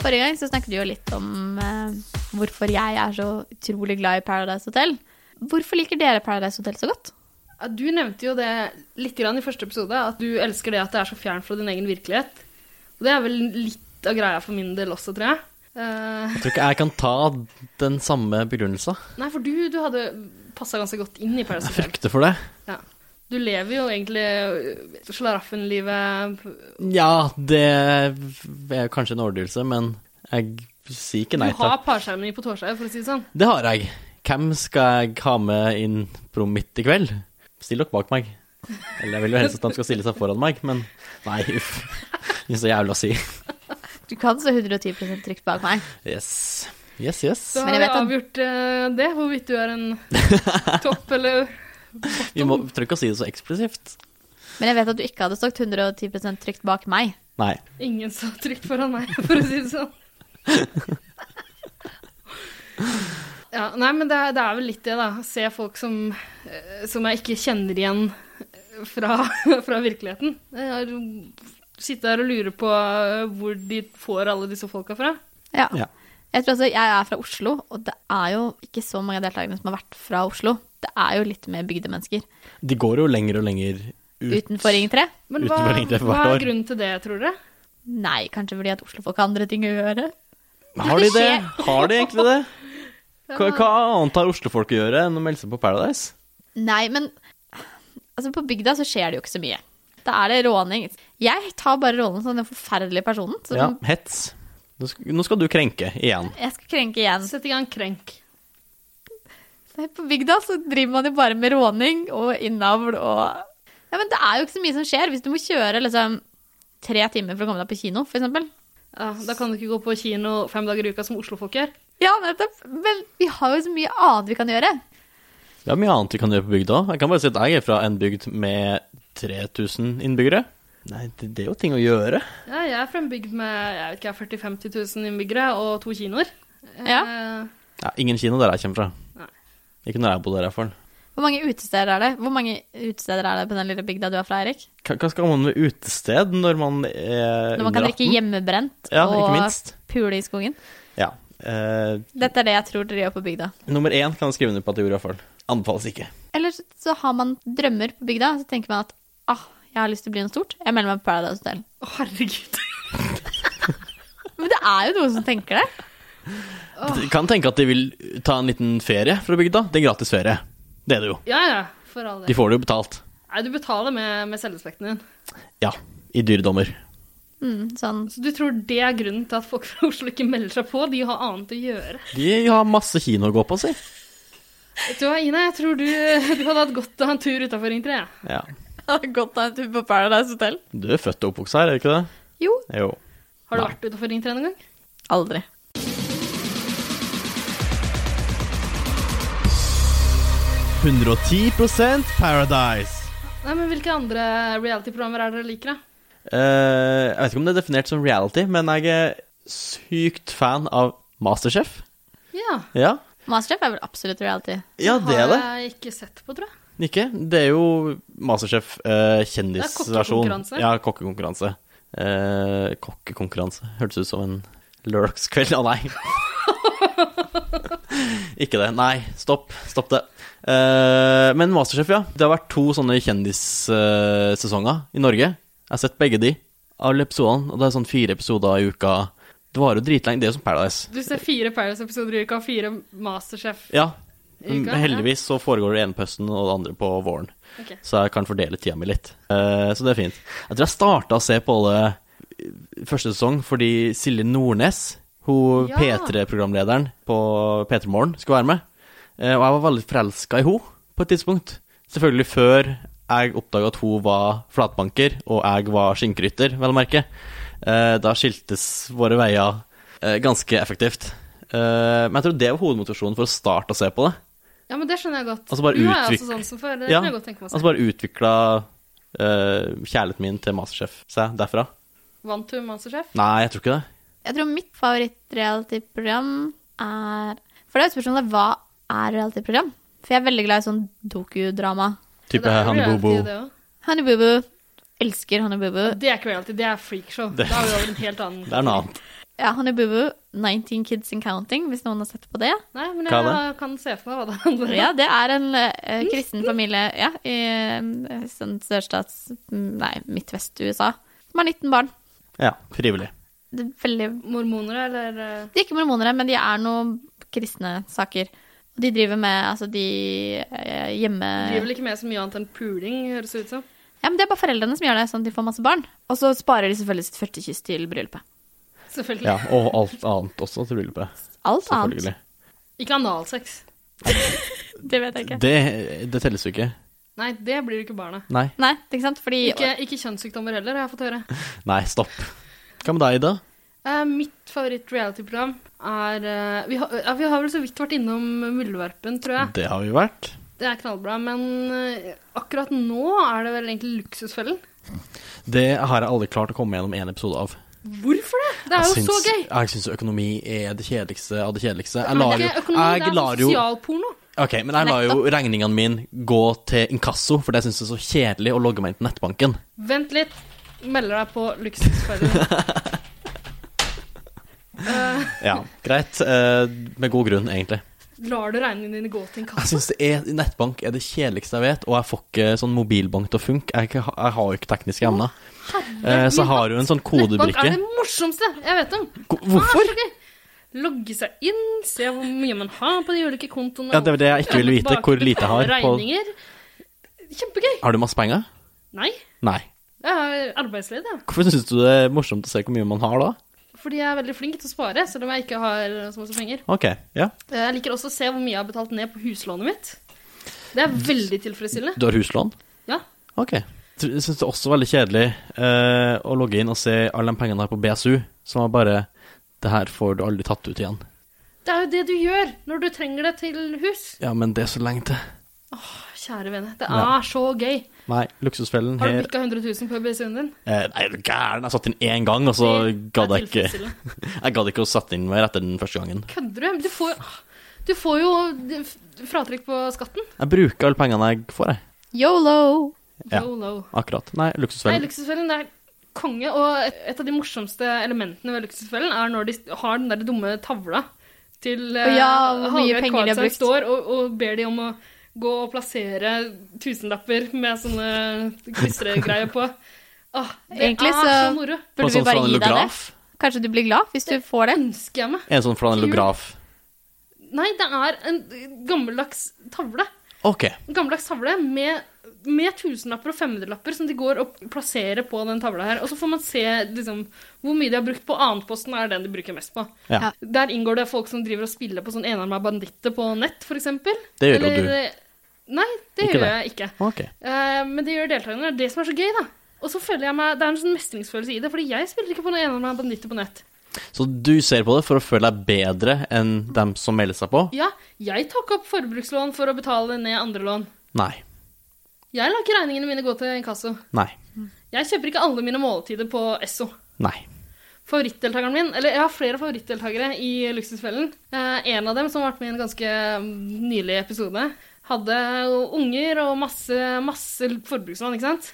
[SPEAKER 2] Forrige gang så snakket du jo litt om eh, hvorfor jeg er så utrolig glad i Paradise Hotel. Hvorfor liker dere Paradise Hotel så godt?
[SPEAKER 3] Ja, Du nevnte jo det litt grann i første episode, at du elsker det at det er så fjernt fra din egen virkelighet. Og det er vel litt av greia for min del også, tror jeg. Eh,
[SPEAKER 1] Jeg tror ikke jeg kan ta den samme begrunnelsen.
[SPEAKER 3] nei, for du, du hadde passa ganske godt inn i Paradise
[SPEAKER 1] Jeg
[SPEAKER 3] Hotel.
[SPEAKER 1] frykter for det.
[SPEAKER 3] Ja. Du lever jo egentlig øh, slaraffenlivet
[SPEAKER 1] Ja, det er kanskje en overdrivelse, men jeg sier ikke nei
[SPEAKER 3] Du
[SPEAKER 1] takk.
[SPEAKER 3] har parskjermen på Torshaug, for å si det sånn.
[SPEAKER 1] Det har jeg. Hvem skal jeg ha med inn på mitt i kveld? Still dere bak meg. Eller jeg vil jo helst at de skal stille seg foran meg, men nei, uff. Det er så jævlig å si.
[SPEAKER 2] Du kan så 110 trygt bak meg.
[SPEAKER 1] Yes. Yes, yes.
[SPEAKER 3] Så
[SPEAKER 2] Men
[SPEAKER 3] har
[SPEAKER 2] jeg
[SPEAKER 3] vi
[SPEAKER 2] vet at-
[SPEAKER 3] avgjort eh, det, hvorvidt du er en
[SPEAKER 1] *laughs*
[SPEAKER 3] topp eller
[SPEAKER 1] Vi må trenger ikke å si det så eksplosivt.
[SPEAKER 2] Men jeg vet at du ikke hadde stått 110 trygt bak meg.
[SPEAKER 1] Nei.
[SPEAKER 3] Ingen så trygt foran meg, for å si det
[SPEAKER 1] *laughs*
[SPEAKER 3] sånn. Ja, nei, men det er, det er vel litt det, da. Se folk som, eh, som jeg ikke kjenner igjen fra, *laughs* fra virkeligheten. Jeg har jo- Sitte her og lure på eh, hvor de får alle disse folka fra.
[SPEAKER 2] Ja.
[SPEAKER 1] Ja.
[SPEAKER 2] Jeg tror også jeg er fra Oslo, og det er jo ikke så mange av deltakerne som har vært fra Oslo. Det er jo litt mer bygdemennesker.
[SPEAKER 1] De går jo lenger og lenger ut.
[SPEAKER 2] Utenfor Ring 3?
[SPEAKER 3] Men
[SPEAKER 1] Uten
[SPEAKER 3] hva,
[SPEAKER 1] melding til hvert
[SPEAKER 3] hva
[SPEAKER 1] år.
[SPEAKER 3] er grunnen til det, tror dere?
[SPEAKER 2] Nei, kanskje fordi at Oslofolk har andre ting å gjøre.
[SPEAKER 1] Har de det? Har de egentlig det? Hva, hva annet har oslofolk å gjøre enn å melde seg på Paradise?
[SPEAKER 2] Nei, men altså, på bygda så skjer det jo ikke så mye. Da er det råning. Jeg tar bare rollen som den forferdelige personen. Som
[SPEAKER 1] Ja, hets. Nå skal, nå skal du krenke igjen.
[SPEAKER 2] Jeg skal krenke igjen.
[SPEAKER 3] Sett i gang krenk.
[SPEAKER 2] Nei, på bygda så driver man jo bare med råning og innavl og Ja, men det er jo ikke så mye som skjer. Hvis du må kjøre liksom tre timer for å komme deg på kino, for eksempel.
[SPEAKER 3] Ja, Ah, da kan du ikke gå på kino fem dager i uka som oslofolk gjør.
[SPEAKER 2] Ja, nettopp. Men vi har jo så mye annet vi kan gjøre.
[SPEAKER 1] Det er mye annet vi kan gjøre på bygda. Jeg kan bare si at jeg er fra en bygd med 3000 innbyggere. Nei, det, det er jo ting å gjøre.
[SPEAKER 3] Ja, jeg er fra en bygd med jeg vet ikke, 40 000-50 000 innbyggere og to kinoer.
[SPEAKER 2] Ja.
[SPEAKER 3] Eh,
[SPEAKER 1] Ja, ingen kino der jeg kommer fra.
[SPEAKER 3] Nei.
[SPEAKER 1] Ikke når jeg bodde der, iallfall.
[SPEAKER 2] Hvor mange utesteder er det? Hvor mange utesteder er det på den lille bygda du er fra, Erik?
[SPEAKER 1] Hva hva skal man med utested når man er
[SPEAKER 2] Når man kan
[SPEAKER 1] under
[SPEAKER 2] drikke
[SPEAKER 1] 18?
[SPEAKER 2] hjemmebrent
[SPEAKER 1] Ja, ikke
[SPEAKER 2] og
[SPEAKER 1] minst.
[SPEAKER 2] pule i skogen?
[SPEAKER 1] Ja. Eh,
[SPEAKER 2] Dette er det jeg tror dere gjør på bygda.
[SPEAKER 1] nummer én kan skrive under på at det gjorde iallfall. Anbefales ikke.
[SPEAKER 2] Eller så- så har man drømmer på bygda, så tenker man at ah, jeg har lyst til å bli noe stort. Jeg melder meg på Paradise Hotel.
[SPEAKER 3] Å, herregud. *laughs*
[SPEAKER 2] Men det er jo noen som tenker det.
[SPEAKER 1] Du Kan tenke at de vil ta en liten ferie fra bygda. Det er gratis ferie. Det er det jo.
[SPEAKER 3] Ja, ja. For all
[SPEAKER 1] De
[SPEAKER 3] del.
[SPEAKER 1] får det jo betalt.
[SPEAKER 3] Nei, du betaler med, med selvrespekten din.
[SPEAKER 1] Ja. I dyre dommer.
[SPEAKER 2] Mm, *laughs* sånn.
[SPEAKER 3] Så du tror det er grunnen til at folk fra Oslo ikke melder seg på? De har annet å gjøre.
[SPEAKER 1] De har masse kino å gå på, si.
[SPEAKER 3] Vet du hva, Ina, jeg tror du, du hadde hatt godt av en tur utafor Ring 3. jeg.
[SPEAKER 1] Ja.
[SPEAKER 2] Godt av en tur på Paradise Hotel.
[SPEAKER 1] Du er født og oppvokst her, er du ikke det?
[SPEAKER 2] Jo.
[SPEAKER 1] Jo.
[SPEAKER 3] Har du
[SPEAKER 1] Nei.
[SPEAKER 3] vært utafor Ring 3 noen gang?
[SPEAKER 2] Aldri.
[SPEAKER 5] Paradise.
[SPEAKER 3] Nei, men Hvilke andre reality-programmer er det dere liker, da?
[SPEAKER 1] Eh, jeg vet ikke om det er definert som reality, men jeg er sykt fan av Masterchef.
[SPEAKER 3] Ja.
[SPEAKER 1] Ja,
[SPEAKER 2] Masterchef er vel absolutt reality.
[SPEAKER 1] ja det er det.
[SPEAKER 3] Har jeg ikke sett på, tror jeg.
[SPEAKER 1] Ikke? Det er jo Masterchef eh,
[SPEAKER 3] Det er
[SPEAKER 1] kjendisversjon.
[SPEAKER 3] kokkekonkurranse.
[SPEAKER 1] Ja, kokkekonkurranse. Eh, kokkekonkurranse. Hørtes ut som en lørdagskveld. Å nei. *laughs* Ikke det. Nei, stopp. Stopp det. Eh, men Masterchef, ja. Det har vært to sånne kjendissesonger i Norge. Jeg har sett begge de. Alle episodene. Og det er sånn fire episoder i uka. Det varer jo dritlenge. Det er jo som Paradise.
[SPEAKER 3] Du ser fire Paradise-episoder i uka, fire Masterchef.
[SPEAKER 1] Ja.
[SPEAKER 3] I
[SPEAKER 1] Men
[SPEAKER 3] uka, ja.
[SPEAKER 1] heldigvis så foregår det ene på høsten og det andre på våren.
[SPEAKER 3] Ok.
[SPEAKER 1] Så jeg kan fordele tida mi litt. Eh, så det er fint. Jeg tror jeg starta å se på det i første sesong fordi Silje Nordnes, hun
[SPEAKER 3] Ja.
[SPEAKER 1] P3-programlederen på P3 Morgen, skulle være med. Eh, og jeg var veldig forelska i henne på et tidspunkt. Selvfølgelig før jeg oppdaga at hun var flatbanker, og jeg var skinnkrytter, vel å merke. Eh, da skiltes våre veier eh, ganske effektivt. Eh, men jeg tror det var hovedmotivasjonen for å starte å se på det.
[SPEAKER 3] Ja, men det skjønner jeg godt.
[SPEAKER 1] Altså bare
[SPEAKER 3] Hun er
[SPEAKER 1] utvik-
[SPEAKER 3] også sånn som før. Det
[SPEAKER 1] Ja.
[SPEAKER 3] kan jeg godt tenke meg å se.
[SPEAKER 1] Altså bare utvikla kjærligheten min til Masterchef seg derfra. Altså-
[SPEAKER 3] Vant hun Masterchef?
[SPEAKER 1] Nei, jeg tror ikke det.
[SPEAKER 2] Jeg tror mitt favoritt-reality-program er For det er jo spørsmålet hva er reality-program? For jeg er veldig glad i sånn dokudrama.
[SPEAKER 3] Det
[SPEAKER 1] Type
[SPEAKER 3] er jo
[SPEAKER 1] Hanne
[SPEAKER 3] reality,
[SPEAKER 1] Bobo.
[SPEAKER 3] Det, også.
[SPEAKER 2] Honey Boo Boo. Elsker Honey Boo Boo.
[SPEAKER 3] det er ikke reality, det er freakshow.
[SPEAKER 1] Det-
[SPEAKER 3] Da er vi over en helt
[SPEAKER 1] *laughs*
[SPEAKER 3] annen
[SPEAKER 1] Det er noe annet.
[SPEAKER 2] Ja, Honey Boo Boo, 19 Kids and Counting, hvis noen har sett på det.
[SPEAKER 3] Nei, men
[SPEAKER 1] Hva
[SPEAKER 3] jeg
[SPEAKER 1] er
[SPEAKER 3] kan se for meg hva det handler om.
[SPEAKER 2] Ja, det er en eh, kristen familie ja, i eh, sånn sørstats... Nei, Midtvest-USA. Som har 19 barn.
[SPEAKER 1] Ja, frivillig.
[SPEAKER 2] Det er veldig...
[SPEAKER 3] Mormoner, eller eh,
[SPEAKER 2] De er ikke mormonere, men de er noen kristne saker. Og de driver med Altså, de eh, hjemme...
[SPEAKER 3] driver vel ikke med så mye annet enn puling, høres det ut som.
[SPEAKER 2] Ja, men det er bare foreldrene som gjør det, sånn at de får masse barn. Og så sparer de selvfølgelig sitt første kyss til bryllupet.
[SPEAKER 3] Selvfølgelig.
[SPEAKER 1] Ja, og alt annet også til bryllupet.
[SPEAKER 2] Alt annet.
[SPEAKER 1] Selvfølgelig.
[SPEAKER 3] Ikke analsex.
[SPEAKER 2] Det vet jeg ikke.
[SPEAKER 1] Det, det telles jo ikke.
[SPEAKER 3] Nei, det blir jo ikke barna.
[SPEAKER 1] Nei.
[SPEAKER 2] Nei, ikke sant? Fordi
[SPEAKER 3] Ikke, ikke kjønnssykdommer heller, har jeg fått høre.
[SPEAKER 1] Nei, stopp. Hva med deg, Ida?
[SPEAKER 3] Eh, mitt favoritt-reality-program er eh, vi, har, ja, vi har vel så vidt vært innom Muldvarpen, tror jeg.
[SPEAKER 1] Det har vi vært.
[SPEAKER 3] Det er knallbra. Men eh, akkurat nå er det vel egentlig Luksusfellen.
[SPEAKER 1] Det har jeg aldri klart å komme gjennom én episode av.
[SPEAKER 3] Hvorfor det? Det er jo
[SPEAKER 1] Jeg
[SPEAKER 3] så
[SPEAKER 1] syns-
[SPEAKER 3] gøy!
[SPEAKER 1] Jeg syns økonomi er det kjedeligste av det kjedeligste. Jeg
[SPEAKER 3] Men
[SPEAKER 1] lar
[SPEAKER 3] det
[SPEAKER 1] jo,
[SPEAKER 3] er ikke økonomi,
[SPEAKER 1] jeg
[SPEAKER 3] det
[SPEAKER 1] lar
[SPEAKER 3] er
[SPEAKER 1] jo
[SPEAKER 3] sosialporno.
[SPEAKER 1] Ok, men jeg lar jo regningene mine gå til inkasso, for det syns jeg er så kjedelig å logge meg inn på nettbanken.
[SPEAKER 3] Vent litt. Melder deg på
[SPEAKER 1] *laughs*
[SPEAKER 3] Luksusfellen. Eh,
[SPEAKER 1] Ja, greit. eh, med god grunn, egentlig.
[SPEAKER 3] lar du regningene dine gå til en
[SPEAKER 1] Jeg
[SPEAKER 3] kasse?
[SPEAKER 1] syns nettbank er det kjedeligste jeg vet, og jeg får ikke sånn mobilbank til å funke. Jeg, er ikke- jeg har jo ikke tekniske emner. Eh, så jeg har jo en sånn
[SPEAKER 3] Nettbank er det
[SPEAKER 1] kodebrikke.
[SPEAKER 3] morsomste jeg vet om.
[SPEAKER 1] Ko-
[SPEAKER 3] Det
[SPEAKER 1] Hvorfor?
[SPEAKER 3] er så gøy. Ah, Logge seg inn, se hvor mye man har på de ulike kontoene.
[SPEAKER 1] Ja, det er det jeg ikke vil vite, hvor lite jeg har på
[SPEAKER 3] Regninger. Kjempegøy.
[SPEAKER 1] Har du masse penger?
[SPEAKER 3] Nei,
[SPEAKER 1] Nei.
[SPEAKER 3] jeg er arbeidsledig. jeg.
[SPEAKER 1] Hvorfor syns du det er morsomt å se hvor mye man har da?
[SPEAKER 3] Fordi jeg er veldig flink til å spare, selv om jeg ikke har så masse penger.
[SPEAKER 1] Ok, ja.
[SPEAKER 3] Eh, Jeg liker også å se hvor mye jeg har betalt ned på huslånet mitt. Det er veldig tilfredsstillende.
[SPEAKER 1] Du har huslån?
[SPEAKER 3] Ja.
[SPEAKER 1] Ok. Jeg syns det er også veldig kjedelig eh, å logge inn og se alle de pengene jeg har på BSU, som er bare Det her får du aldri tatt ut igjen.
[SPEAKER 3] Det er jo det du gjør når du trenger det til hus.
[SPEAKER 1] Ja, men det er så lenge til.
[SPEAKER 3] Kjære vene, det er
[SPEAKER 1] Ja.
[SPEAKER 3] så gøy.
[SPEAKER 1] Nei, luksusfellen
[SPEAKER 3] Har du
[SPEAKER 1] her
[SPEAKER 3] bikka 100 000 på BSU-en din?
[SPEAKER 1] Eh, Nei, er du gæren? Jeg satt inn én gang, og så
[SPEAKER 3] Det er
[SPEAKER 1] gadd jeg ikke
[SPEAKER 3] tilfredsstillende.
[SPEAKER 1] Jeg gadd ikke å sette inn mer etter den første gangen.
[SPEAKER 3] Kødder du? Du får, Du får jo d- f- fratrekk på skatten.
[SPEAKER 1] Jeg bruker alle pengene jeg får, jeg.
[SPEAKER 2] Yolo!
[SPEAKER 1] Ja.
[SPEAKER 3] Yolo.
[SPEAKER 1] Akkurat. Nei,
[SPEAKER 3] Nei,
[SPEAKER 1] luksusfellen.
[SPEAKER 3] Luksusfellen det er konge, og et, et av de morsomste elementene ved Luksusfellen er når de har den der dumme tavla til eh,
[SPEAKER 2] Å ja, hvor mye
[SPEAKER 3] Hallgeir
[SPEAKER 2] penger de har
[SPEAKER 3] Kvartsen
[SPEAKER 2] brukt.
[SPEAKER 3] står og, og ber de om å gå og plassere tusenlapper med sånne klistregreier på. Åh, det
[SPEAKER 2] Egentlig
[SPEAKER 3] er så
[SPEAKER 2] så-
[SPEAKER 3] moro.
[SPEAKER 1] På
[SPEAKER 2] Burde vi
[SPEAKER 1] sånn
[SPEAKER 2] bare gi deg det?
[SPEAKER 1] flanellograf.
[SPEAKER 2] Kanskje du blir glad hvis du får det?
[SPEAKER 3] Ønsker jeg meg.
[SPEAKER 1] En sånn flanellograf.
[SPEAKER 3] Nei, det er en gammeldags tavle.
[SPEAKER 1] Ok.
[SPEAKER 3] En gammeldags tavle med, med tusenlapper og femhundrelapper som de går og plasserer på den tavla her. Og så får man se liksom, hvor mye de har brukt på annenposten, er den de bruker mest på.
[SPEAKER 1] Ja.
[SPEAKER 3] Der inngår det folk som driver og spiller på sånn enarma banditter på nett, f.eks.
[SPEAKER 1] Det gjør jo du.
[SPEAKER 3] Nei, det
[SPEAKER 1] Ikke
[SPEAKER 3] gjør
[SPEAKER 1] det.
[SPEAKER 3] jeg ikke.
[SPEAKER 1] Ok.
[SPEAKER 3] Eh, men det gjør deltakerne. Det er det som er så gøy, da. Og så føler jeg meg, Det er en sånn mestringsfølelse i det, fordi jeg spiller ikke på noen enarma banditter på nett.
[SPEAKER 1] Så du ser på det for å føle deg bedre enn dem som melder seg på?
[SPEAKER 3] Ja, jeg tok opp forbrukslån for å betale ned andre lån.
[SPEAKER 1] Nei.
[SPEAKER 3] Jeg lar ikke regningene mine gå til inkasso.
[SPEAKER 1] Nei.
[SPEAKER 3] Jeg kjøper ikke alle mine måltider på Esso.
[SPEAKER 1] Nei.
[SPEAKER 3] Favorittdeltakeren min, eller jeg har flere favorittdeltakere i Luksusfellen. Eh, en av dem som har vært med i en ganske mm, nylig episode, hadde jo unger og masse, masse forbrukslån, ikke sant?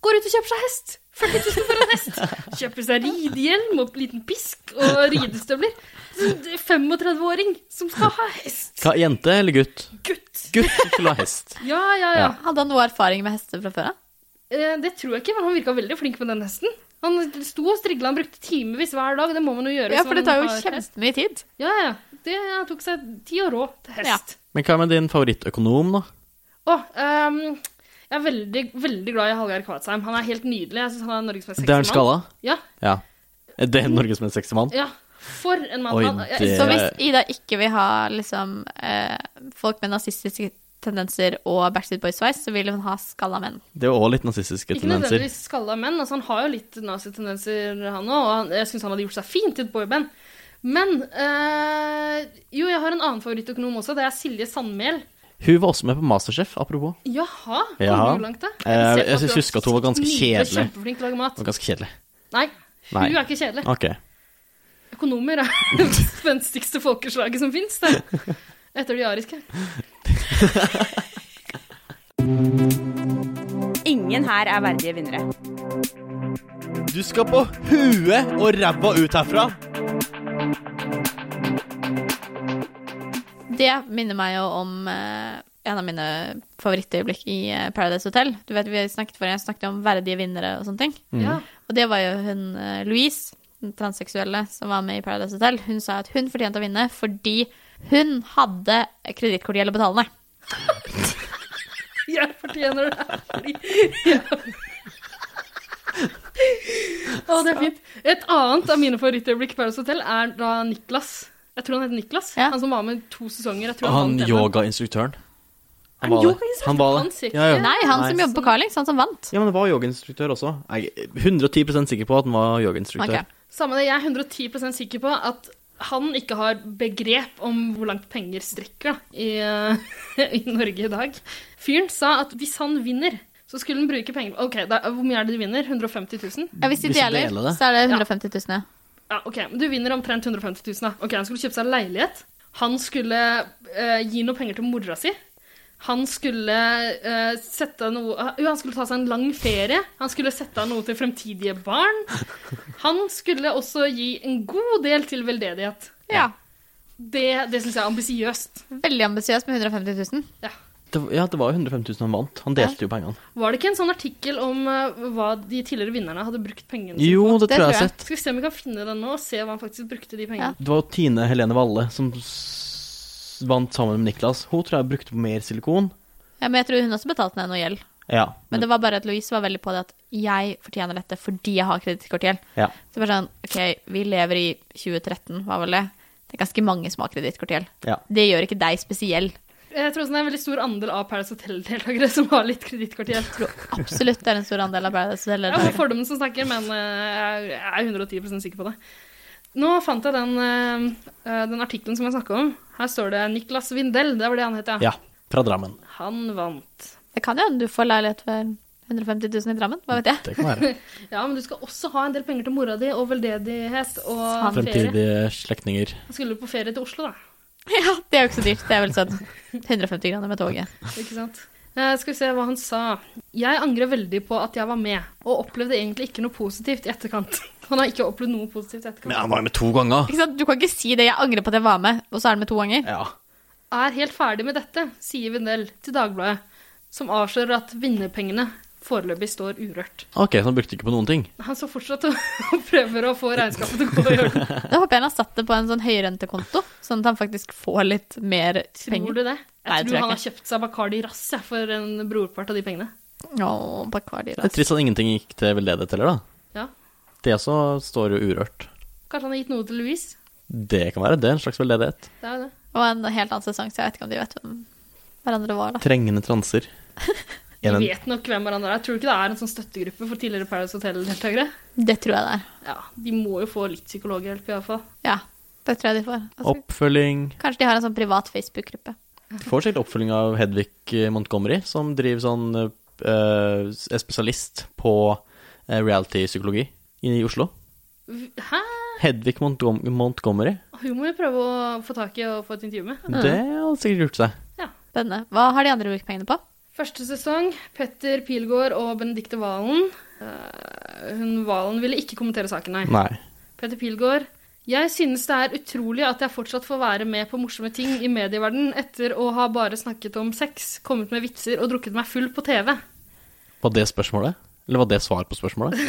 [SPEAKER 3] Går ut og kjøper seg hest! 40 000 for en hest! Kjøper seg ridehjelm og liten pisk og ridestøvler. Så det er 35-åring som skal ha hest!
[SPEAKER 1] Hva, jente eller gutt?
[SPEAKER 3] Gutt!
[SPEAKER 1] Gutt som skulle ha hest.
[SPEAKER 3] Ja, ja, ja.
[SPEAKER 1] Ja.
[SPEAKER 2] Hadde han noe erfaring med hester fra før av?
[SPEAKER 3] Eh, det tror jeg ikke, men han virka veldig flink med den hesten. Han sto og strigla, han brukte timevis hver dag. Det må man jo gjøre.
[SPEAKER 2] Ja,
[SPEAKER 3] hvis
[SPEAKER 2] for det
[SPEAKER 3] man
[SPEAKER 2] tar jo
[SPEAKER 3] har hest.
[SPEAKER 2] kjempemye tid.
[SPEAKER 3] Ja, ja. Det han tok seg tid og råd til hest.
[SPEAKER 1] Men hva med din favorittøkonom, da?
[SPEAKER 3] Å, ehm, jeg er veldig, veldig glad i Hallgeir Kvadsheim. Han er helt nydelig. Jeg syns han er Norges mest sexy
[SPEAKER 1] Det er en skala?
[SPEAKER 3] Ja,
[SPEAKER 1] Ja. Er det Norges mest sexy mann?
[SPEAKER 3] ja. For en mann.
[SPEAKER 1] Oi,
[SPEAKER 3] han, jeg,
[SPEAKER 1] det-
[SPEAKER 2] Så hvis Ida ikke vil ha liksom, eh, folk med nazistiske tendenser og Backstreet Boys-sveis, så vil hun ha skalla menn.
[SPEAKER 1] Det er jo òg litt nazistiske
[SPEAKER 3] ikke
[SPEAKER 1] tendenser.
[SPEAKER 3] nødvendigvis skalla menn. Altså, han har jo litt nazitendenser, han òg. Og han, jeg syns han hadde gjort seg fint i et boyband. Men eh, Jo, jeg har en annen favorittøkonom også. Det er Silje Sandmæl.
[SPEAKER 1] Hun var også med på Masterchef, apropos.
[SPEAKER 3] Jaha.
[SPEAKER 1] Jaha.
[SPEAKER 3] Kom du langt, da?
[SPEAKER 1] Eh,
[SPEAKER 3] ser for
[SPEAKER 1] jeg
[SPEAKER 3] meg
[SPEAKER 1] husker at hun var ganske
[SPEAKER 3] nydelig og
[SPEAKER 1] kjedelig.
[SPEAKER 3] Kjempeflink til å lage mat.
[SPEAKER 1] Det var ganske kjedelig.
[SPEAKER 3] Nei, hun
[SPEAKER 1] Nei.
[SPEAKER 3] er ikke kjedelig.
[SPEAKER 1] Ok.
[SPEAKER 3] Økonomer er *laughs* det spenstigste folkeslaget som fins, det. Etter de ariske.
[SPEAKER 6] Ingen her er verdige vinnere.
[SPEAKER 5] Du skal på huet og ræva ut herfra.
[SPEAKER 2] Det minner meg jo om eh, en av mine favorittøyeblikk i eh, Paradise Hotel. Du vet, vi snakket forrige gang snakket om verdige vinnere og sånne ting.
[SPEAKER 1] Mm.
[SPEAKER 3] Ja.
[SPEAKER 2] Og det var jo hun eh, Louise, den transseksuelle som var med i Paradise Hotel. Hun sa at hun fortjente å vinne fordi hun hadde kredittkortgjeld å betale ned.
[SPEAKER 3] Jeg
[SPEAKER 1] *laughs*
[SPEAKER 3] fortjener det. Fordi... Ja. Å, det er fint. Et annet av mine favorittøyeblikk i Paradise Hotel er da Niklas Jeg tror han heter Niklas.
[SPEAKER 2] Ja.
[SPEAKER 3] Han som var med i to sesonger. Jeg tror
[SPEAKER 1] Og han
[SPEAKER 3] vant en.
[SPEAKER 1] yogainstruktøren.
[SPEAKER 3] Er han
[SPEAKER 1] var det.
[SPEAKER 3] yogainstruktør?
[SPEAKER 1] Han var
[SPEAKER 3] Han
[SPEAKER 1] det.
[SPEAKER 3] sikkert.
[SPEAKER 1] Ja, ja.
[SPEAKER 2] Nei, han som
[SPEAKER 1] Nei.
[SPEAKER 2] jobber på Carlings, han som vant.
[SPEAKER 1] Ja, men det var yogainstruktør også. Jeg er 110 sikker på at han var yogainstruktør.
[SPEAKER 2] Ok.
[SPEAKER 3] Samme det, jeg er 110 sikker på at han ikke har begrep om hvor langt penger strekker da, i, eh, *laughs* i Norge i dag. Fyren sa at hvis han vinner, så skulle han bruke penger Ok, da, hvor mye er det de vinner? 150 000?
[SPEAKER 2] Ja, hvis de
[SPEAKER 1] Hvis de
[SPEAKER 2] deler,
[SPEAKER 1] deler det.
[SPEAKER 2] så er det
[SPEAKER 3] Ja.
[SPEAKER 2] 150 000, ja.
[SPEAKER 3] Ja, ok, men Du vinner omtrent 150 000. Da. Ok, Han skulle kjøpe seg en leilighet. Han skulle eh, gi noe penger til mora si. Han skulle eh, sette av noe Jo, han skulle ta seg en lang ferie. Han skulle sette av noe til fremtidige barn. Han skulle også gi en god del til veldedighet.
[SPEAKER 2] ja.
[SPEAKER 3] Det, det syns jeg er ambisiøst.
[SPEAKER 2] Veldig ambisiøs med 150 000.
[SPEAKER 1] Det, var- ja, det var jo 150 000 han vant. Han delte jo pengene.
[SPEAKER 3] Var det ikke en sånn artikkel om eh, hva de tidligere vinnerne hadde brukt pengene sine
[SPEAKER 1] Jo,
[SPEAKER 3] på?
[SPEAKER 1] det, tror jeg jeg har sett.
[SPEAKER 3] Skal vi se om vi kan finne den nå, og se hva han faktisk brukte de pengene.
[SPEAKER 1] Det var jo Tine Helene Valle som s vant sammen med Niklas. Hun tror jeg brukte mer silikon.
[SPEAKER 2] Ja, men jeg tror hun også betalte ned noe gjeld.
[SPEAKER 1] Ja.
[SPEAKER 2] Men det var bare at Louise var veldig på det at jeg fortjener dette fordi jeg har kredittkortgjeld.
[SPEAKER 1] Ja.
[SPEAKER 2] Så bare sånn, ok, vi lever i 2013, hva var det? Det er ganske mange som har kredittkortgjeld.
[SPEAKER 1] Ja.
[SPEAKER 2] Det gjør ikke deg spesiell.
[SPEAKER 3] Jeg tror også det er en veldig stor andel av Paradise Hotel-deltakere som har litt kredittkortgjeld.
[SPEAKER 2] Absolutt det er en stor andel av Paradise Hotel.
[SPEAKER 3] Det er bare fordommen som snakker, men eh, jeg er 110 sikker på det. Nå fant jeg den, eh, eh, den artikkelen som jeg snakka om. Her står det Niklas Vindel. Det var det han het, ja.
[SPEAKER 1] ja. Fra Drammen.
[SPEAKER 3] Han vant.
[SPEAKER 2] Det kan jo hende du får leilighet for 150 000 i Drammen, hva vet jeg. *laughs*
[SPEAKER 1] Det kan være.
[SPEAKER 3] Ja, men du skal også ha en del penger til mora di og veldedighet og
[SPEAKER 2] Sant.
[SPEAKER 3] ferie.
[SPEAKER 1] Fremtidige slektninger.
[SPEAKER 3] Han skulle på ferie til Oslo, da.
[SPEAKER 2] Ja, det er jo ikke så dyrt. Det er vel sånn 150 kroner med toget.
[SPEAKER 3] Ikke sant? Eh, skal vi se hva han sa. Jeg angrer veldig på at jeg var med, og opplevde egentlig ikke noe positivt i etterkant. *laughs* Han har ikke opplevd noe positivt i etterkant.
[SPEAKER 1] Men han var med to ganger.
[SPEAKER 2] Ikke sant? Du kan ikke si det. 'Jeg angrer på at jeg var med', og så er det med to ganger.
[SPEAKER 1] Ja.
[SPEAKER 3] Er helt ferdig med dette, sier Vindel til Dagbladet, som avslører at vinnerpengene foreløpig står urørt.
[SPEAKER 1] Ok, så han brukte ikke på noen ting.
[SPEAKER 3] Han står fortsatt og *laughs* og prøver å få regnskapet til å gå i orden.
[SPEAKER 2] Da håper jeg han har satt det på en sånn høyrentekonto, sånn at han faktisk får litt mer *laughs*
[SPEAKER 3] Tror
[SPEAKER 2] penger.
[SPEAKER 3] du det? Jeg
[SPEAKER 2] Nei, jeg
[SPEAKER 3] tror,
[SPEAKER 2] tror jeg
[SPEAKER 3] han har
[SPEAKER 2] ikke.
[SPEAKER 3] kjøpt seg Bacardi Rass jeg, for en brorpart av de pengene.
[SPEAKER 2] Åh, Bacardi,
[SPEAKER 1] Det er
[SPEAKER 2] altså.
[SPEAKER 1] trist at ingenting gikk til veldedighet heller, da.
[SPEAKER 3] Ja.
[SPEAKER 1] Det også står jo urørt.
[SPEAKER 3] Kanskje han har gitt noe til Louise?
[SPEAKER 1] Det kan være det, en slags veldedighet.
[SPEAKER 3] Det er jo det.
[SPEAKER 2] Det var en helt annen sesong, så jeg vet ikke om de vet hvem hverandre var, da.
[SPEAKER 1] Trengende transer.
[SPEAKER 3] De
[SPEAKER 1] En,
[SPEAKER 3] vet nok hvem hverandre er. Tror du ikke det er en sånn støttegruppe for tidligere Paradise Hotel-deltakere?
[SPEAKER 2] Det tror jeg det er.
[SPEAKER 3] Ja, de må jo få litt psykologhjelp i hvert fall.
[SPEAKER 2] Ja, det tror jeg de får. Altså,
[SPEAKER 1] oppfølging
[SPEAKER 2] Kanskje de har en sånn privat Facebook-gruppe.
[SPEAKER 1] Får sikkert oppfølging av Hedvig eh, Montgomery, som driver sånn eh, er spesialist på eh, reality-psykologi i Oslo.
[SPEAKER 3] Hæ?
[SPEAKER 1] Hedvig Montgom Montgomery.
[SPEAKER 3] Hun må jo prøve å få tak i og få et intervju med.
[SPEAKER 1] Det hadde sikkert gjort seg.
[SPEAKER 2] Spennende. Hva har de andre brukt pengene på?
[SPEAKER 3] Første sesong, Petter Pilgaard og Benedikte Valen. Eh, hun Valen ville ikke kommentere saken, nei.
[SPEAKER 1] Nei.
[SPEAKER 3] Petter Pilgaard. Jeg synes det er utrolig at jeg fortsatt får være med på morsomme ting i medieverdenen etter å ha bare snakket om sex, kommet med vitser og drukket meg full på TV.
[SPEAKER 1] Var det spørsmålet? Eller var det svar på spørsmålet?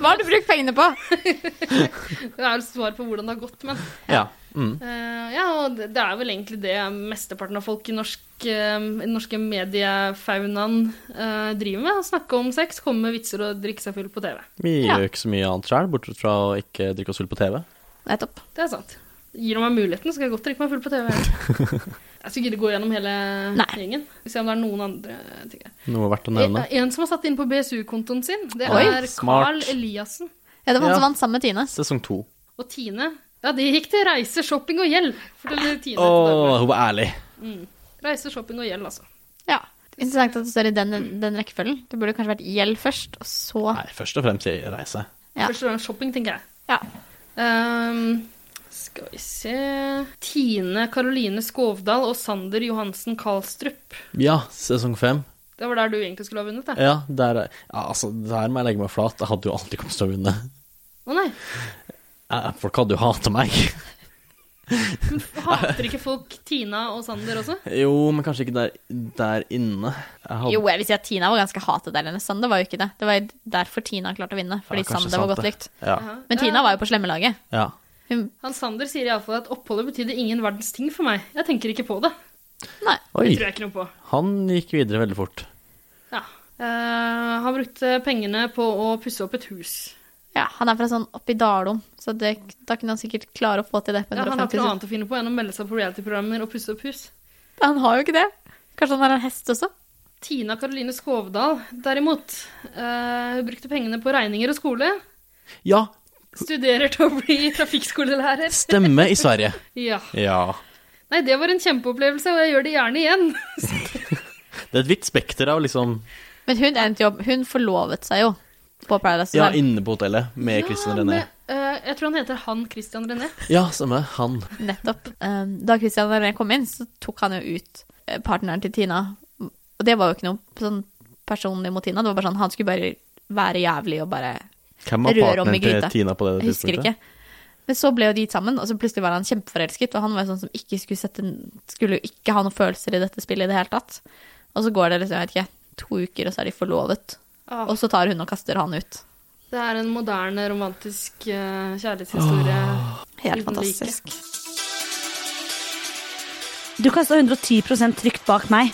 [SPEAKER 2] Hva har du brukt pengene på?
[SPEAKER 3] Det er jo svar på hvordan det har gått, men
[SPEAKER 1] Ja. Mm.
[SPEAKER 3] Eh, ja, og det det er vel egentlig det mesteparten av folk i norsk, eh, i den norske mediefaunaen eh, driver med. Å snakke om sex, komme med vitser og drikke seg full på TV.
[SPEAKER 1] Vi
[SPEAKER 2] Ja.
[SPEAKER 1] gjør jo ikke så mye annet sjøl, bortsett fra å ikke drikke oss full på TV.
[SPEAKER 2] Nettopp.
[SPEAKER 3] Det er sant. Gir de meg muligheten, skal jeg godt drikke meg full på TV.
[SPEAKER 1] *laughs*
[SPEAKER 3] Jeg skal ikke gå gjennom hele
[SPEAKER 2] Nei.
[SPEAKER 3] gjengen. Vi ser om det er noen andre ting her.
[SPEAKER 1] Noe verdt å
[SPEAKER 3] En,
[SPEAKER 1] nevne.
[SPEAKER 3] en som har satt inn på BSU-kontoen sin, det
[SPEAKER 1] Oi,
[SPEAKER 3] er Carl
[SPEAKER 1] smart.
[SPEAKER 3] Eliassen.
[SPEAKER 2] Ja, det var han
[SPEAKER 1] Ja.
[SPEAKER 2] som vant sammen med Tine.
[SPEAKER 1] Sesong to.
[SPEAKER 3] Og Tine. Ja, det gikk til reise, shopping og gjeld, forteller Tine. til
[SPEAKER 1] Å,
[SPEAKER 3] Dagbladet.
[SPEAKER 1] hun var ærlig.
[SPEAKER 3] Reise, shopping og gjeld, altså.
[SPEAKER 2] Ja. Interessant at det står i den, den rekkefølgen. Det burde kanskje vært gjeld først, og så
[SPEAKER 1] Nei, først og fremst i reise.
[SPEAKER 2] Ja.
[SPEAKER 3] Først og fremst shopping, tenker jeg.
[SPEAKER 2] Ja.
[SPEAKER 3] Ehm, skal vi se Tine Karoline Skovdal og Sander Johansen Karlstrup.
[SPEAKER 1] Ja, sesong fem.
[SPEAKER 3] Det var der du egentlig skulle ha vunnet, det.
[SPEAKER 1] Ja, der, er- ja, altså, der må jeg legge meg flat. Jeg hadde jo alltid kommet til å vinne.
[SPEAKER 3] Å nei.
[SPEAKER 1] Eh, Folk hadde jo hata meg.
[SPEAKER 3] Hater ikke folk Tina og Sander også?
[SPEAKER 1] *laughs* Jo, men kanskje ikke der, der inne. Jeg hadde,
[SPEAKER 2] Jo, jeg vil si at Tina var ganske hatet der inne. Sander var jo ikke det. Det var derfor Tina klarte å vinne, fordi
[SPEAKER 1] Ja, kanskje
[SPEAKER 2] Sander var
[SPEAKER 1] sant
[SPEAKER 2] godt
[SPEAKER 1] det.
[SPEAKER 2] likt.
[SPEAKER 1] Ja.
[SPEAKER 2] Men Tina var jo på slemmelaget.
[SPEAKER 1] ja.
[SPEAKER 2] Hun
[SPEAKER 3] Han Sander sier iallfall at oppholdet betydde ingen verdens ting for meg. Jeg tenker ikke på det.
[SPEAKER 2] Nei.
[SPEAKER 1] Oi,
[SPEAKER 3] Det tror jeg ikke noe på.
[SPEAKER 1] han gikk videre veldig fort.
[SPEAKER 3] Ja. Eh, han brukte pengene på å pusse opp et hus.
[SPEAKER 2] Ja, han er fra sånn oppi Dalom, så det, da kunne han sikkert klare å få til det på
[SPEAKER 3] Ja, han har ikke
[SPEAKER 2] 150
[SPEAKER 3] noe
[SPEAKER 2] 000.
[SPEAKER 3] annet å finne på enn å melde seg på reality-programmer og pusse opp hus.
[SPEAKER 2] Han har jo ikke det. Kanskje han har en hest også?
[SPEAKER 3] Tina Karoline Skovdal, derimot, eh, hun brukte pengene på regninger og skole.
[SPEAKER 1] Ja,
[SPEAKER 3] Studerer til å bli trafikkskolelærer.
[SPEAKER 1] stemme i
[SPEAKER 2] *laughs*
[SPEAKER 1] Sverige.
[SPEAKER 3] Ja.
[SPEAKER 1] Ja.
[SPEAKER 3] Nei, det var en kjempeopplevelse, og jeg gjør det gjerne igjen.
[SPEAKER 1] Det er et vidt spekter av liksom
[SPEAKER 2] Men hun endte jo opp Hun forlovet seg jo på Paradise
[SPEAKER 1] Ja,
[SPEAKER 2] Hotel.
[SPEAKER 1] inne på hotellet med Christian
[SPEAKER 3] Ja,
[SPEAKER 1] René.
[SPEAKER 3] med, eh, jeg tror han heter han Christian René.
[SPEAKER 1] Ja, stemme. Han.
[SPEAKER 2] Nettopp. Um, Da Christian René kom inn, så tok han jo ut eh, partneren til Tina. Og det var jo ikke noe sånn personlig mot Tina. Det var bare sånn, han skulle bare være jævlig og bare
[SPEAKER 1] Hvem var
[SPEAKER 2] Rør om i
[SPEAKER 1] partneren til
[SPEAKER 2] gryta.
[SPEAKER 1] Tina på det
[SPEAKER 2] Jeg husker
[SPEAKER 1] tidspunktet?
[SPEAKER 2] ikke. Men så ble jo de sammen, og så plutselig var han kjempeforelsket. Og han var jo sånn som ikke skulle, sette, skulle jo ikke ha noen følelser i dette spillet i det hele tatt. Og så går det liksom, jeg vet ikke, to uker, og så er de forlovet.
[SPEAKER 3] Ah.
[SPEAKER 2] Og så tar hun og kaster han ut.
[SPEAKER 3] Det er en moderne, romantisk eh, kjærlighetshistorie.
[SPEAKER 2] Helt
[SPEAKER 3] Uten like.
[SPEAKER 2] fantastisk.
[SPEAKER 6] Du kasta 110 trygt bak meg.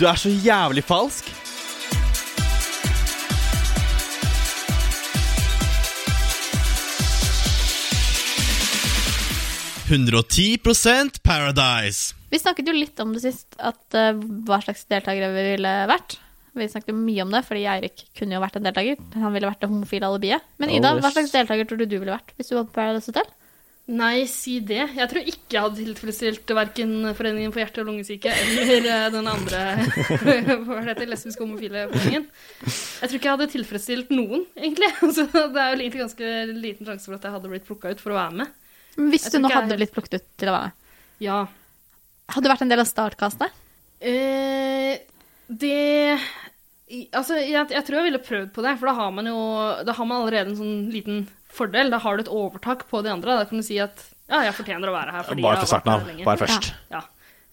[SPEAKER 5] Du er så jævlig falsk. «110% Paradise.
[SPEAKER 2] Vi snakket jo litt om det sist, at eh, hva slags deltakere vi ville vært. Vi snakket jo mye om det, fordi Eirik kunne jo vært en deltaker. Han ville vært det homofile alibiet. Men
[SPEAKER 1] Oh,
[SPEAKER 2] Ida, hva
[SPEAKER 1] yes.
[SPEAKER 2] slags deltaker tror du du ville vært hvis du var på Paradise Hotel?
[SPEAKER 3] Nei, si det. Jeg tror ikke jeg hadde tilfredsstilt verken Foreningen for hjerte- og lungesyke eller eh, den andre *laughs* hva er det heter, lesbiske homofile foreningen. Jeg tror ikke jeg hadde tilfredsstilt noen, egentlig. *laughs* Så det er jo egentlig ganske liten sjanse for at jeg hadde blitt plukka ut for å være med.
[SPEAKER 2] Hvis
[SPEAKER 3] Jeg
[SPEAKER 2] du
[SPEAKER 3] tror
[SPEAKER 2] nå
[SPEAKER 3] ikke jeg
[SPEAKER 2] hadde
[SPEAKER 3] helt-
[SPEAKER 2] blitt plukket ut til å være med.
[SPEAKER 3] Ja.
[SPEAKER 2] Hadde du vært en del av startkastet?
[SPEAKER 3] Eh, det i- Altså, jeg, jeg tror jeg ville prøvd på det, for da har man jo Da har man allerede en sånn liten fordel. Da har du et overtak på de andre. Da kan du si at ja, jeg fortjener å være her fordi
[SPEAKER 5] Bare fra
[SPEAKER 3] jeg har
[SPEAKER 5] starten
[SPEAKER 3] vært
[SPEAKER 5] av.
[SPEAKER 3] her lenge.
[SPEAKER 5] Bare først.
[SPEAKER 3] Ja.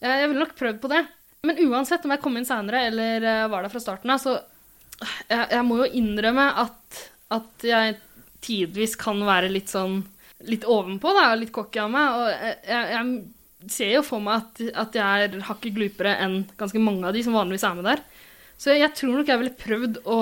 [SPEAKER 3] Eh, Jeg ville nok prøvd på det. Men uansett om jeg kom inn seinere eller eh, var der fra starten av, så eh, jeg, jeg må jo innrømme at, at jeg tidvis kan være litt sånn litt ovenpå, da, litt cocky av meg. Og jeg, jeg, jeg ser jo for meg at, at jeg er hakket glupere enn ganske mange av de som vanligvis er med der. Så jeg, jeg tror nok jeg ville prøvd å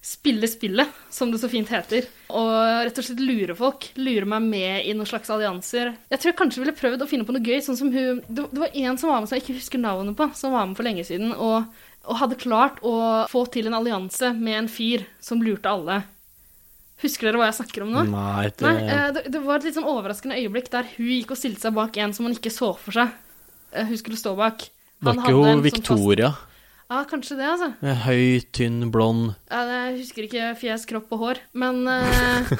[SPEAKER 3] spille spillet, som det så fint heter. Og rett og slett lure folk. Lure meg med i noen slags allianser. Jeg tror jeg kanskje ville prøvd å finne på noe gøy, sånn som hun Det, det var en som var med som jeg ikke husker navnet på, som var med for lenge siden, og, og hadde klart å få til en allianse med en fyr som lurte alle. Husker dere hva jeg snakker om nå?
[SPEAKER 1] Nei, det,
[SPEAKER 3] Nei, eh, det, det var et litt sånn overraskende øyeblikk der hun gikk og stilte seg bak en som hun ikke så for seg eh, hun skulle stå bak.
[SPEAKER 1] var
[SPEAKER 3] Han
[SPEAKER 1] ikke
[SPEAKER 3] hadde
[SPEAKER 1] jo
[SPEAKER 3] en sånn
[SPEAKER 1] Victoria.
[SPEAKER 3] fast- Ja, kanskje det, altså.
[SPEAKER 1] Med Høy, tynn, blond.
[SPEAKER 3] Ja, det- Jeg husker ikke fjes, kropp og hår, men eh,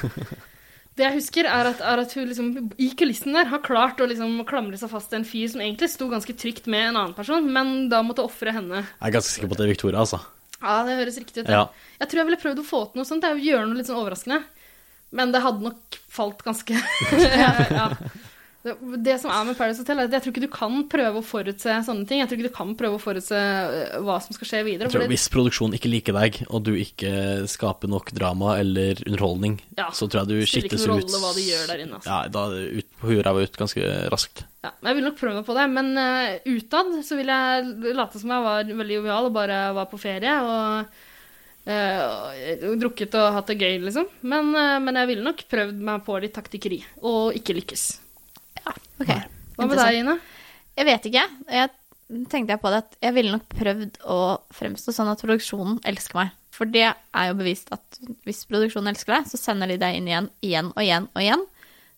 [SPEAKER 3] det jeg husker, er at, er at hun liksom i kulissen der har klart å liksom klamre seg fast til en fyr som egentlig sto ganske trygt med en annen person, men da måtte ofre henne.
[SPEAKER 1] Jeg er ganske sikker på at det er Victoria, altså.
[SPEAKER 3] Ja, det høres riktig ut.
[SPEAKER 1] Ja.
[SPEAKER 3] Jeg tror jeg ville prøvd å få til noe sånt, det er jo å gjøre noe litt sånn overraskende. Men det hadde nok falt
[SPEAKER 1] *laughs*
[SPEAKER 3] ganske ja. det, det som er med Paradise Hotel, er at jeg tror ikke du kan prøve å forutse sånne ting. Jeg tror ikke du kan prøve å forutse øh, hva som skal skje videre.
[SPEAKER 1] Jeg tror
[SPEAKER 3] fordi-
[SPEAKER 1] Hvis produksjonen ikke liker deg, og du ikke skaper nok drama eller underholdning,
[SPEAKER 3] Ja,
[SPEAKER 1] så tror jeg du
[SPEAKER 3] spiller ikke
[SPEAKER 1] skittes
[SPEAKER 3] noen
[SPEAKER 1] ut
[SPEAKER 3] rolle hva de gjør der inne, altså.
[SPEAKER 1] Ja, da er det ut på huet og ræva ut ganske raskt.
[SPEAKER 3] Ja, jeg vil nok prøve meg på det, men eh, utad så vil jeg late som jeg var veldig jovial og bare var på ferie og eh, og- og drukket og hatt det gøy, liksom. Men, eh, men jeg ville nok prøvd meg på litt taktikkeri og ikke lykkes.
[SPEAKER 2] Ok.
[SPEAKER 3] Hva med
[SPEAKER 2] Interessant.
[SPEAKER 3] deg, Ine?
[SPEAKER 2] Jeg vet ikke. Jeg tenkte jeg på det at jeg ville nok prøvd å fremstå sånn at produksjonen elsker meg. For det er jo bevist at hvis produksjonen elsker deg, så sender de deg inn igjen, igjen og igjen og igjen.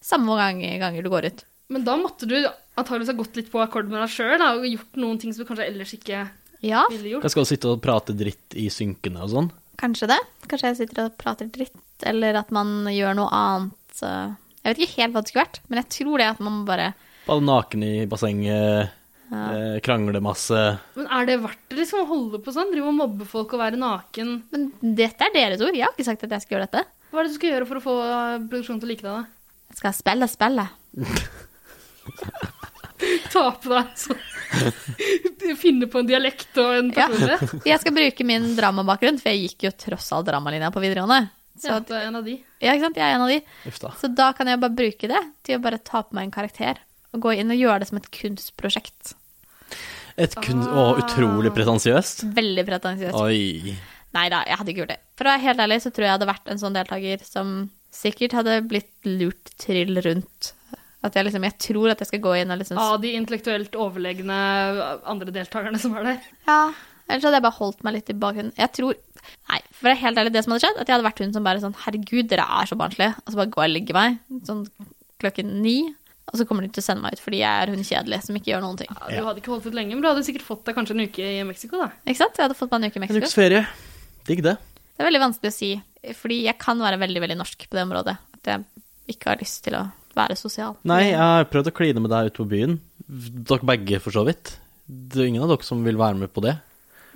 [SPEAKER 2] Samme hvor mange ganger du går ut.
[SPEAKER 3] Men da måtte du antakeligvis ha gått litt på akkord med deg sjøl og gjort noen ting som du kanskje ellers ikke
[SPEAKER 2] Ja,
[SPEAKER 3] ville gjort.
[SPEAKER 1] Jeg skal sitte og prate dritt i synkene og sånn.
[SPEAKER 2] kanskje det. Kanskje jeg sitter og prater dritt, eller at man gjør noe annet. eh, Jeg vet ikke helt hva det skulle vært, men jeg tror det at man bare
[SPEAKER 1] Bade naken i bassenget, eh, krangle masse.
[SPEAKER 3] Men er det verdt det liksom, å holde på sånn? Drive og mobbe folk og være naken?
[SPEAKER 2] Men dette er deres ord. Jeg har ikke sagt at jeg skal gjøre dette.
[SPEAKER 3] Hva er det du skal gjøre for å få eh, produksjonen til å like deg, da? *laughs*
[SPEAKER 2] Jeg skal spille spillet.
[SPEAKER 3] ta på deg så. *laughs* Finne på en dialekt og en
[SPEAKER 2] Ja. *laughs*
[SPEAKER 3] personlighet.
[SPEAKER 2] Jeg skal bruke min dramabakgrunn, for jeg gikk jo tross alt dramalinja på videregående. Så
[SPEAKER 3] Ja.
[SPEAKER 2] at-
[SPEAKER 3] det er en av de.
[SPEAKER 2] Ja, ikke sant? Jeg er en av de.
[SPEAKER 1] Uff da.
[SPEAKER 2] Så da kan jeg bare bruke det til å bare ta på meg en karakter. Og gå inn og gjøre det som et kunstprosjekt.
[SPEAKER 1] Et kun... Å, Ah. utrolig pretensiøst.
[SPEAKER 2] Veldig pretensiøst.
[SPEAKER 1] Oi.
[SPEAKER 2] Nei da, jeg hadde ikke gjort det. For å være helt ærlig så tror jeg hadde vært en sånn deltaker som sikkert hadde blitt lurt trill rundt. At jeg liksom Jeg tror at jeg skal gå inn og liksom
[SPEAKER 3] Av de intellektuelt overlegne eh, andre deltakerne som var der.
[SPEAKER 2] Ja. Ellers hadde jeg bare holdt meg litt i bakgrunnen. Jeg tror Nei, for å være helt ærlig, det som hadde skjedd, at jeg hadde vært hun som bare sånn Herregud, dere er så barnslige. Og så bare går jeg og legger meg sånn klokken ni. Og så kommer de til å sende meg ut fordi jeg er hun kjedelige som ikke gjør noen ting.
[SPEAKER 3] Ja, du hadde ikke holdt ut lenge, men du hadde sikkert fått deg kanskje en uke i Mexico, da.
[SPEAKER 2] Ikke sant? Jeg hadde fått meg en uke i
[SPEAKER 1] En ukes
[SPEAKER 2] Mexico.
[SPEAKER 1] ferie. Digg det.
[SPEAKER 2] Det er veldig vanskelig å si, fordi jeg kan være veldig, veldig norsk på det området. At jeg ikke har lyst til å være sosial.
[SPEAKER 1] Nei, jeg har prøvd å kline med deg ute på byen. Dere begge, for så vidt. Det er ingen av dere som vil være med på det.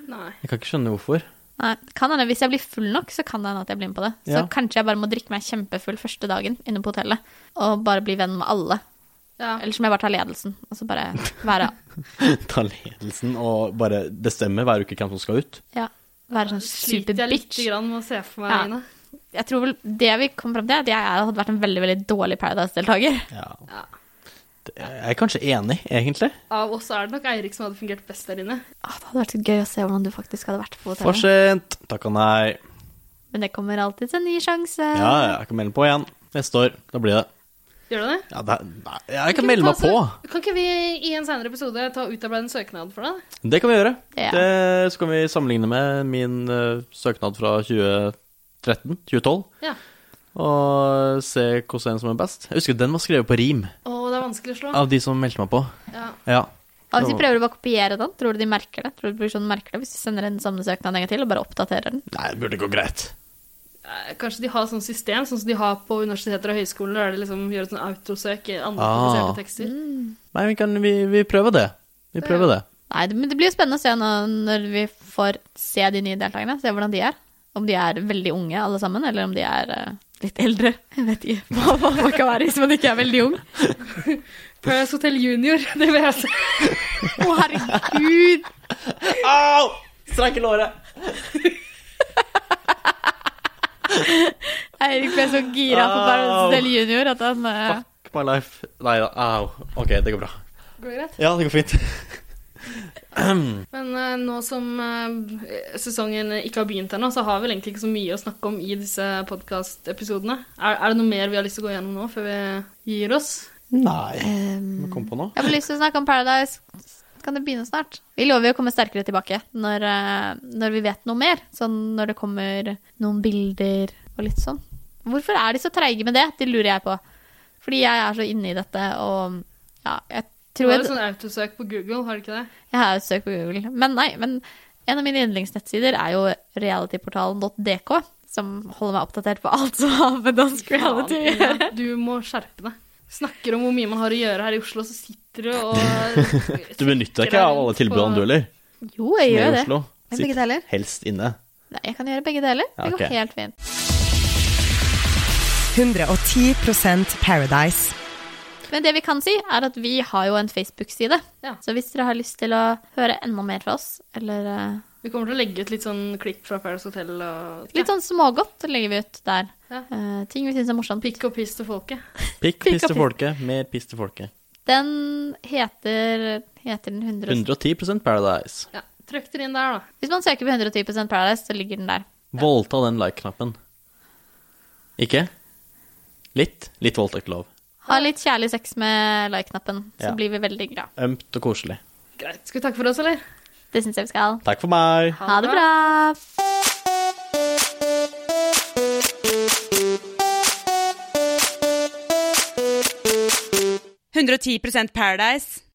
[SPEAKER 3] Nei.
[SPEAKER 1] Jeg kan ikke skjønne *laughs* hvorfor.
[SPEAKER 2] Nei, kan hende, Hvis jeg blir full nok, så kan det hende at jeg blir med på det. Så
[SPEAKER 1] Ja.
[SPEAKER 2] kanskje jeg bare må drikke meg kjempefull første dagen inne på hotellet, og bare bli venn med alle.
[SPEAKER 3] Ja.
[SPEAKER 2] Eller så må jeg bare ta ledelsen, og så bare være,
[SPEAKER 1] Ta ledelsen og bare bestemme hver uke hvem som skal ut.
[SPEAKER 2] *laughs* ja, være sånn
[SPEAKER 3] Sliter jeg litt
[SPEAKER 2] superbitch.
[SPEAKER 3] grann med å se for meg,
[SPEAKER 2] Ja.
[SPEAKER 3] Ine.
[SPEAKER 2] Jeg tror vel det vi kom fram til, er at jeg hadde vært en veldig, veldig dårlig Paradise-deltaker.
[SPEAKER 1] Ja. Det- Jeg er kanskje enig, egentlig.
[SPEAKER 3] Av oss er det nok Eirik som hadde fungert best der inne.
[SPEAKER 2] Åh, Ah, Det hadde vært så gøy å se hvordan du faktisk hadde vært på
[SPEAKER 1] For
[SPEAKER 2] hotellet.
[SPEAKER 1] sent. Takk og nei.
[SPEAKER 2] Men det kommer alltid en ny sjanse.
[SPEAKER 1] Ja, ja, jeg kan melde på igjen. Neste år. Da blir det.
[SPEAKER 3] Gjør du det?
[SPEAKER 1] Ja, det er- nei, jeg kan
[SPEAKER 3] Kan ikke
[SPEAKER 1] melde
[SPEAKER 3] vi
[SPEAKER 1] meg
[SPEAKER 3] ta
[SPEAKER 1] på.
[SPEAKER 3] så- Kan ikke vi i en senere episode ta og utarbeide en søknad for deg?
[SPEAKER 1] Det kan vi gjøre.
[SPEAKER 2] Ja.
[SPEAKER 1] Det, så kan vi sammenligne med min eh, søknad fra 2013, 2012,
[SPEAKER 3] Ja.
[SPEAKER 1] og se hvordan som er best. Jeg husker den var skrevet på rim
[SPEAKER 3] Å, det er vanskelig å slå.
[SPEAKER 1] av de som meldte meg på.
[SPEAKER 3] Ja.
[SPEAKER 1] Ja.
[SPEAKER 2] Og hvis vi prøver å bare kopiere den, tror du de merker det? Tror du produksjonen merker det hvis vi sender en samme søknad en gang til og bare oppdaterer den?
[SPEAKER 1] Nei, det burde gå greit.
[SPEAKER 3] eh, Kanskje de har sånn system, sånn som de har på universiteter og høyskoler, der de liksom gjør et sånn autosøk i andre
[SPEAKER 1] Ah.
[SPEAKER 3] publiserte tekster.
[SPEAKER 1] Nei, vi, kan, vi, vi prøver det. Vi prøver det.
[SPEAKER 2] Nei, det, men det blir jo spennende å se når, når vi får se de nye deltakerne, se hvordan de er. Om de er veldig unge alle sammen, eller om de er eh, litt eldre. Jeg vet ikke *laughs* hva hva man kan være hvis man ikke er veldig ung.
[SPEAKER 3] Paradise Hotel Junior, *laughs* det vil jeg si.
[SPEAKER 2] Å, herregud!
[SPEAKER 1] Au! Streike låret.
[SPEAKER 2] Eirik ble så gira på Paradise
[SPEAKER 1] Au.
[SPEAKER 2] Hotel Junior at han eh,
[SPEAKER 1] Fuck my life. Nei da, au. Ok, det går bra.
[SPEAKER 3] Går det greit?
[SPEAKER 1] Ja, det går fint.
[SPEAKER 3] Men eh, nå som eh, sesongen ikke har begynt ennå, så har vi vel egentlig ikke så mye å snakke om i disse podkastepisodene. Er, er det noe mer vi har lyst til å gå gjennom nå, før vi gir oss?
[SPEAKER 1] Nei. Må komme på noe.
[SPEAKER 2] Ehm, Jeg får lyst til å snakke om Paradise. Kan det begynne snart? Vi lover jo å komme sterkere tilbake når, eh, når vi vet noe mer. Sånn når det kommer noen bilder og litt sånn. Hvorfor er de så treige med det? Det lurer jeg på. Fordi jeg er så inne i dette, og ja, jeg
[SPEAKER 3] Det
[SPEAKER 2] tror
[SPEAKER 3] var jo
[SPEAKER 2] jeg,
[SPEAKER 3] sånn autosøk på Google, har det ikke det?
[SPEAKER 2] jeg har jo søkt på Google. Men nei, men en av mine yndlingsnettsider er jo realityportalen.dk, som holder meg oppdatert på alt som har med dansk reality å gjøre.
[SPEAKER 3] Ja, du må skjerpe deg. Snakker om hvor mye man har å gjøre her i Oslo, så sitter du og
[SPEAKER 1] *laughs* Du benytter deg ikke av alle tilbudene du heller?
[SPEAKER 2] Jo, jeg
[SPEAKER 1] Nede i
[SPEAKER 2] gjør det.
[SPEAKER 1] Oslo.
[SPEAKER 2] Men
[SPEAKER 1] Sitt
[SPEAKER 2] begge deler?
[SPEAKER 1] helst inne.
[SPEAKER 2] Nei, jeg kan gjøre begge deler.
[SPEAKER 1] Ja,
[SPEAKER 2] Det går
[SPEAKER 1] ok.
[SPEAKER 2] helt fint.
[SPEAKER 4] 110 Paradise.
[SPEAKER 2] Men det vi kan si, er at vi har jo en Facebook-side.
[SPEAKER 3] Ja.
[SPEAKER 2] Så hvis dere har lyst til å høre enda mer fra oss, eller eh,
[SPEAKER 3] Vi kommer til å legge ut litt sånn klipp fra Paradise Hotel og
[SPEAKER 2] litt sånn smågodt, legger vi ut der.
[SPEAKER 3] Ja.
[SPEAKER 2] Eh, ting vi syns er morsomt.
[SPEAKER 3] pikk og piss til folket.
[SPEAKER 1] Pikk,
[SPEAKER 2] Pikk
[SPEAKER 1] piss til
[SPEAKER 2] og
[SPEAKER 1] folket. Mer piss til folket.
[SPEAKER 2] Den heter, heter den 100...
[SPEAKER 1] 110 Paradise.
[SPEAKER 3] Ja, Trykk dere inn der, da.
[SPEAKER 2] Hvis man søker på 110 Paradise, så ligger den der.
[SPEAKER 1] Voldta den like-knappen. Ikke? Litt. Litt voldtekt lov.
[SPEAKER 2] Ha litt kjærlig sex med like-knappen, så
[SPEAKER 1] Ja.
[SPEAKER 2] blir vi veldig glad.
[SPEAKER 1] Ømt og koselig.
[SPEAKER 3] Greit. Skal vi takke for oss, eller?
[SPEAKER 2] Det syns jeg vi skal.
[SPEAKER 1] Takk for meg.
[SPEAKER 2] Ha det bra!
[SPEAKER 4] Paradise.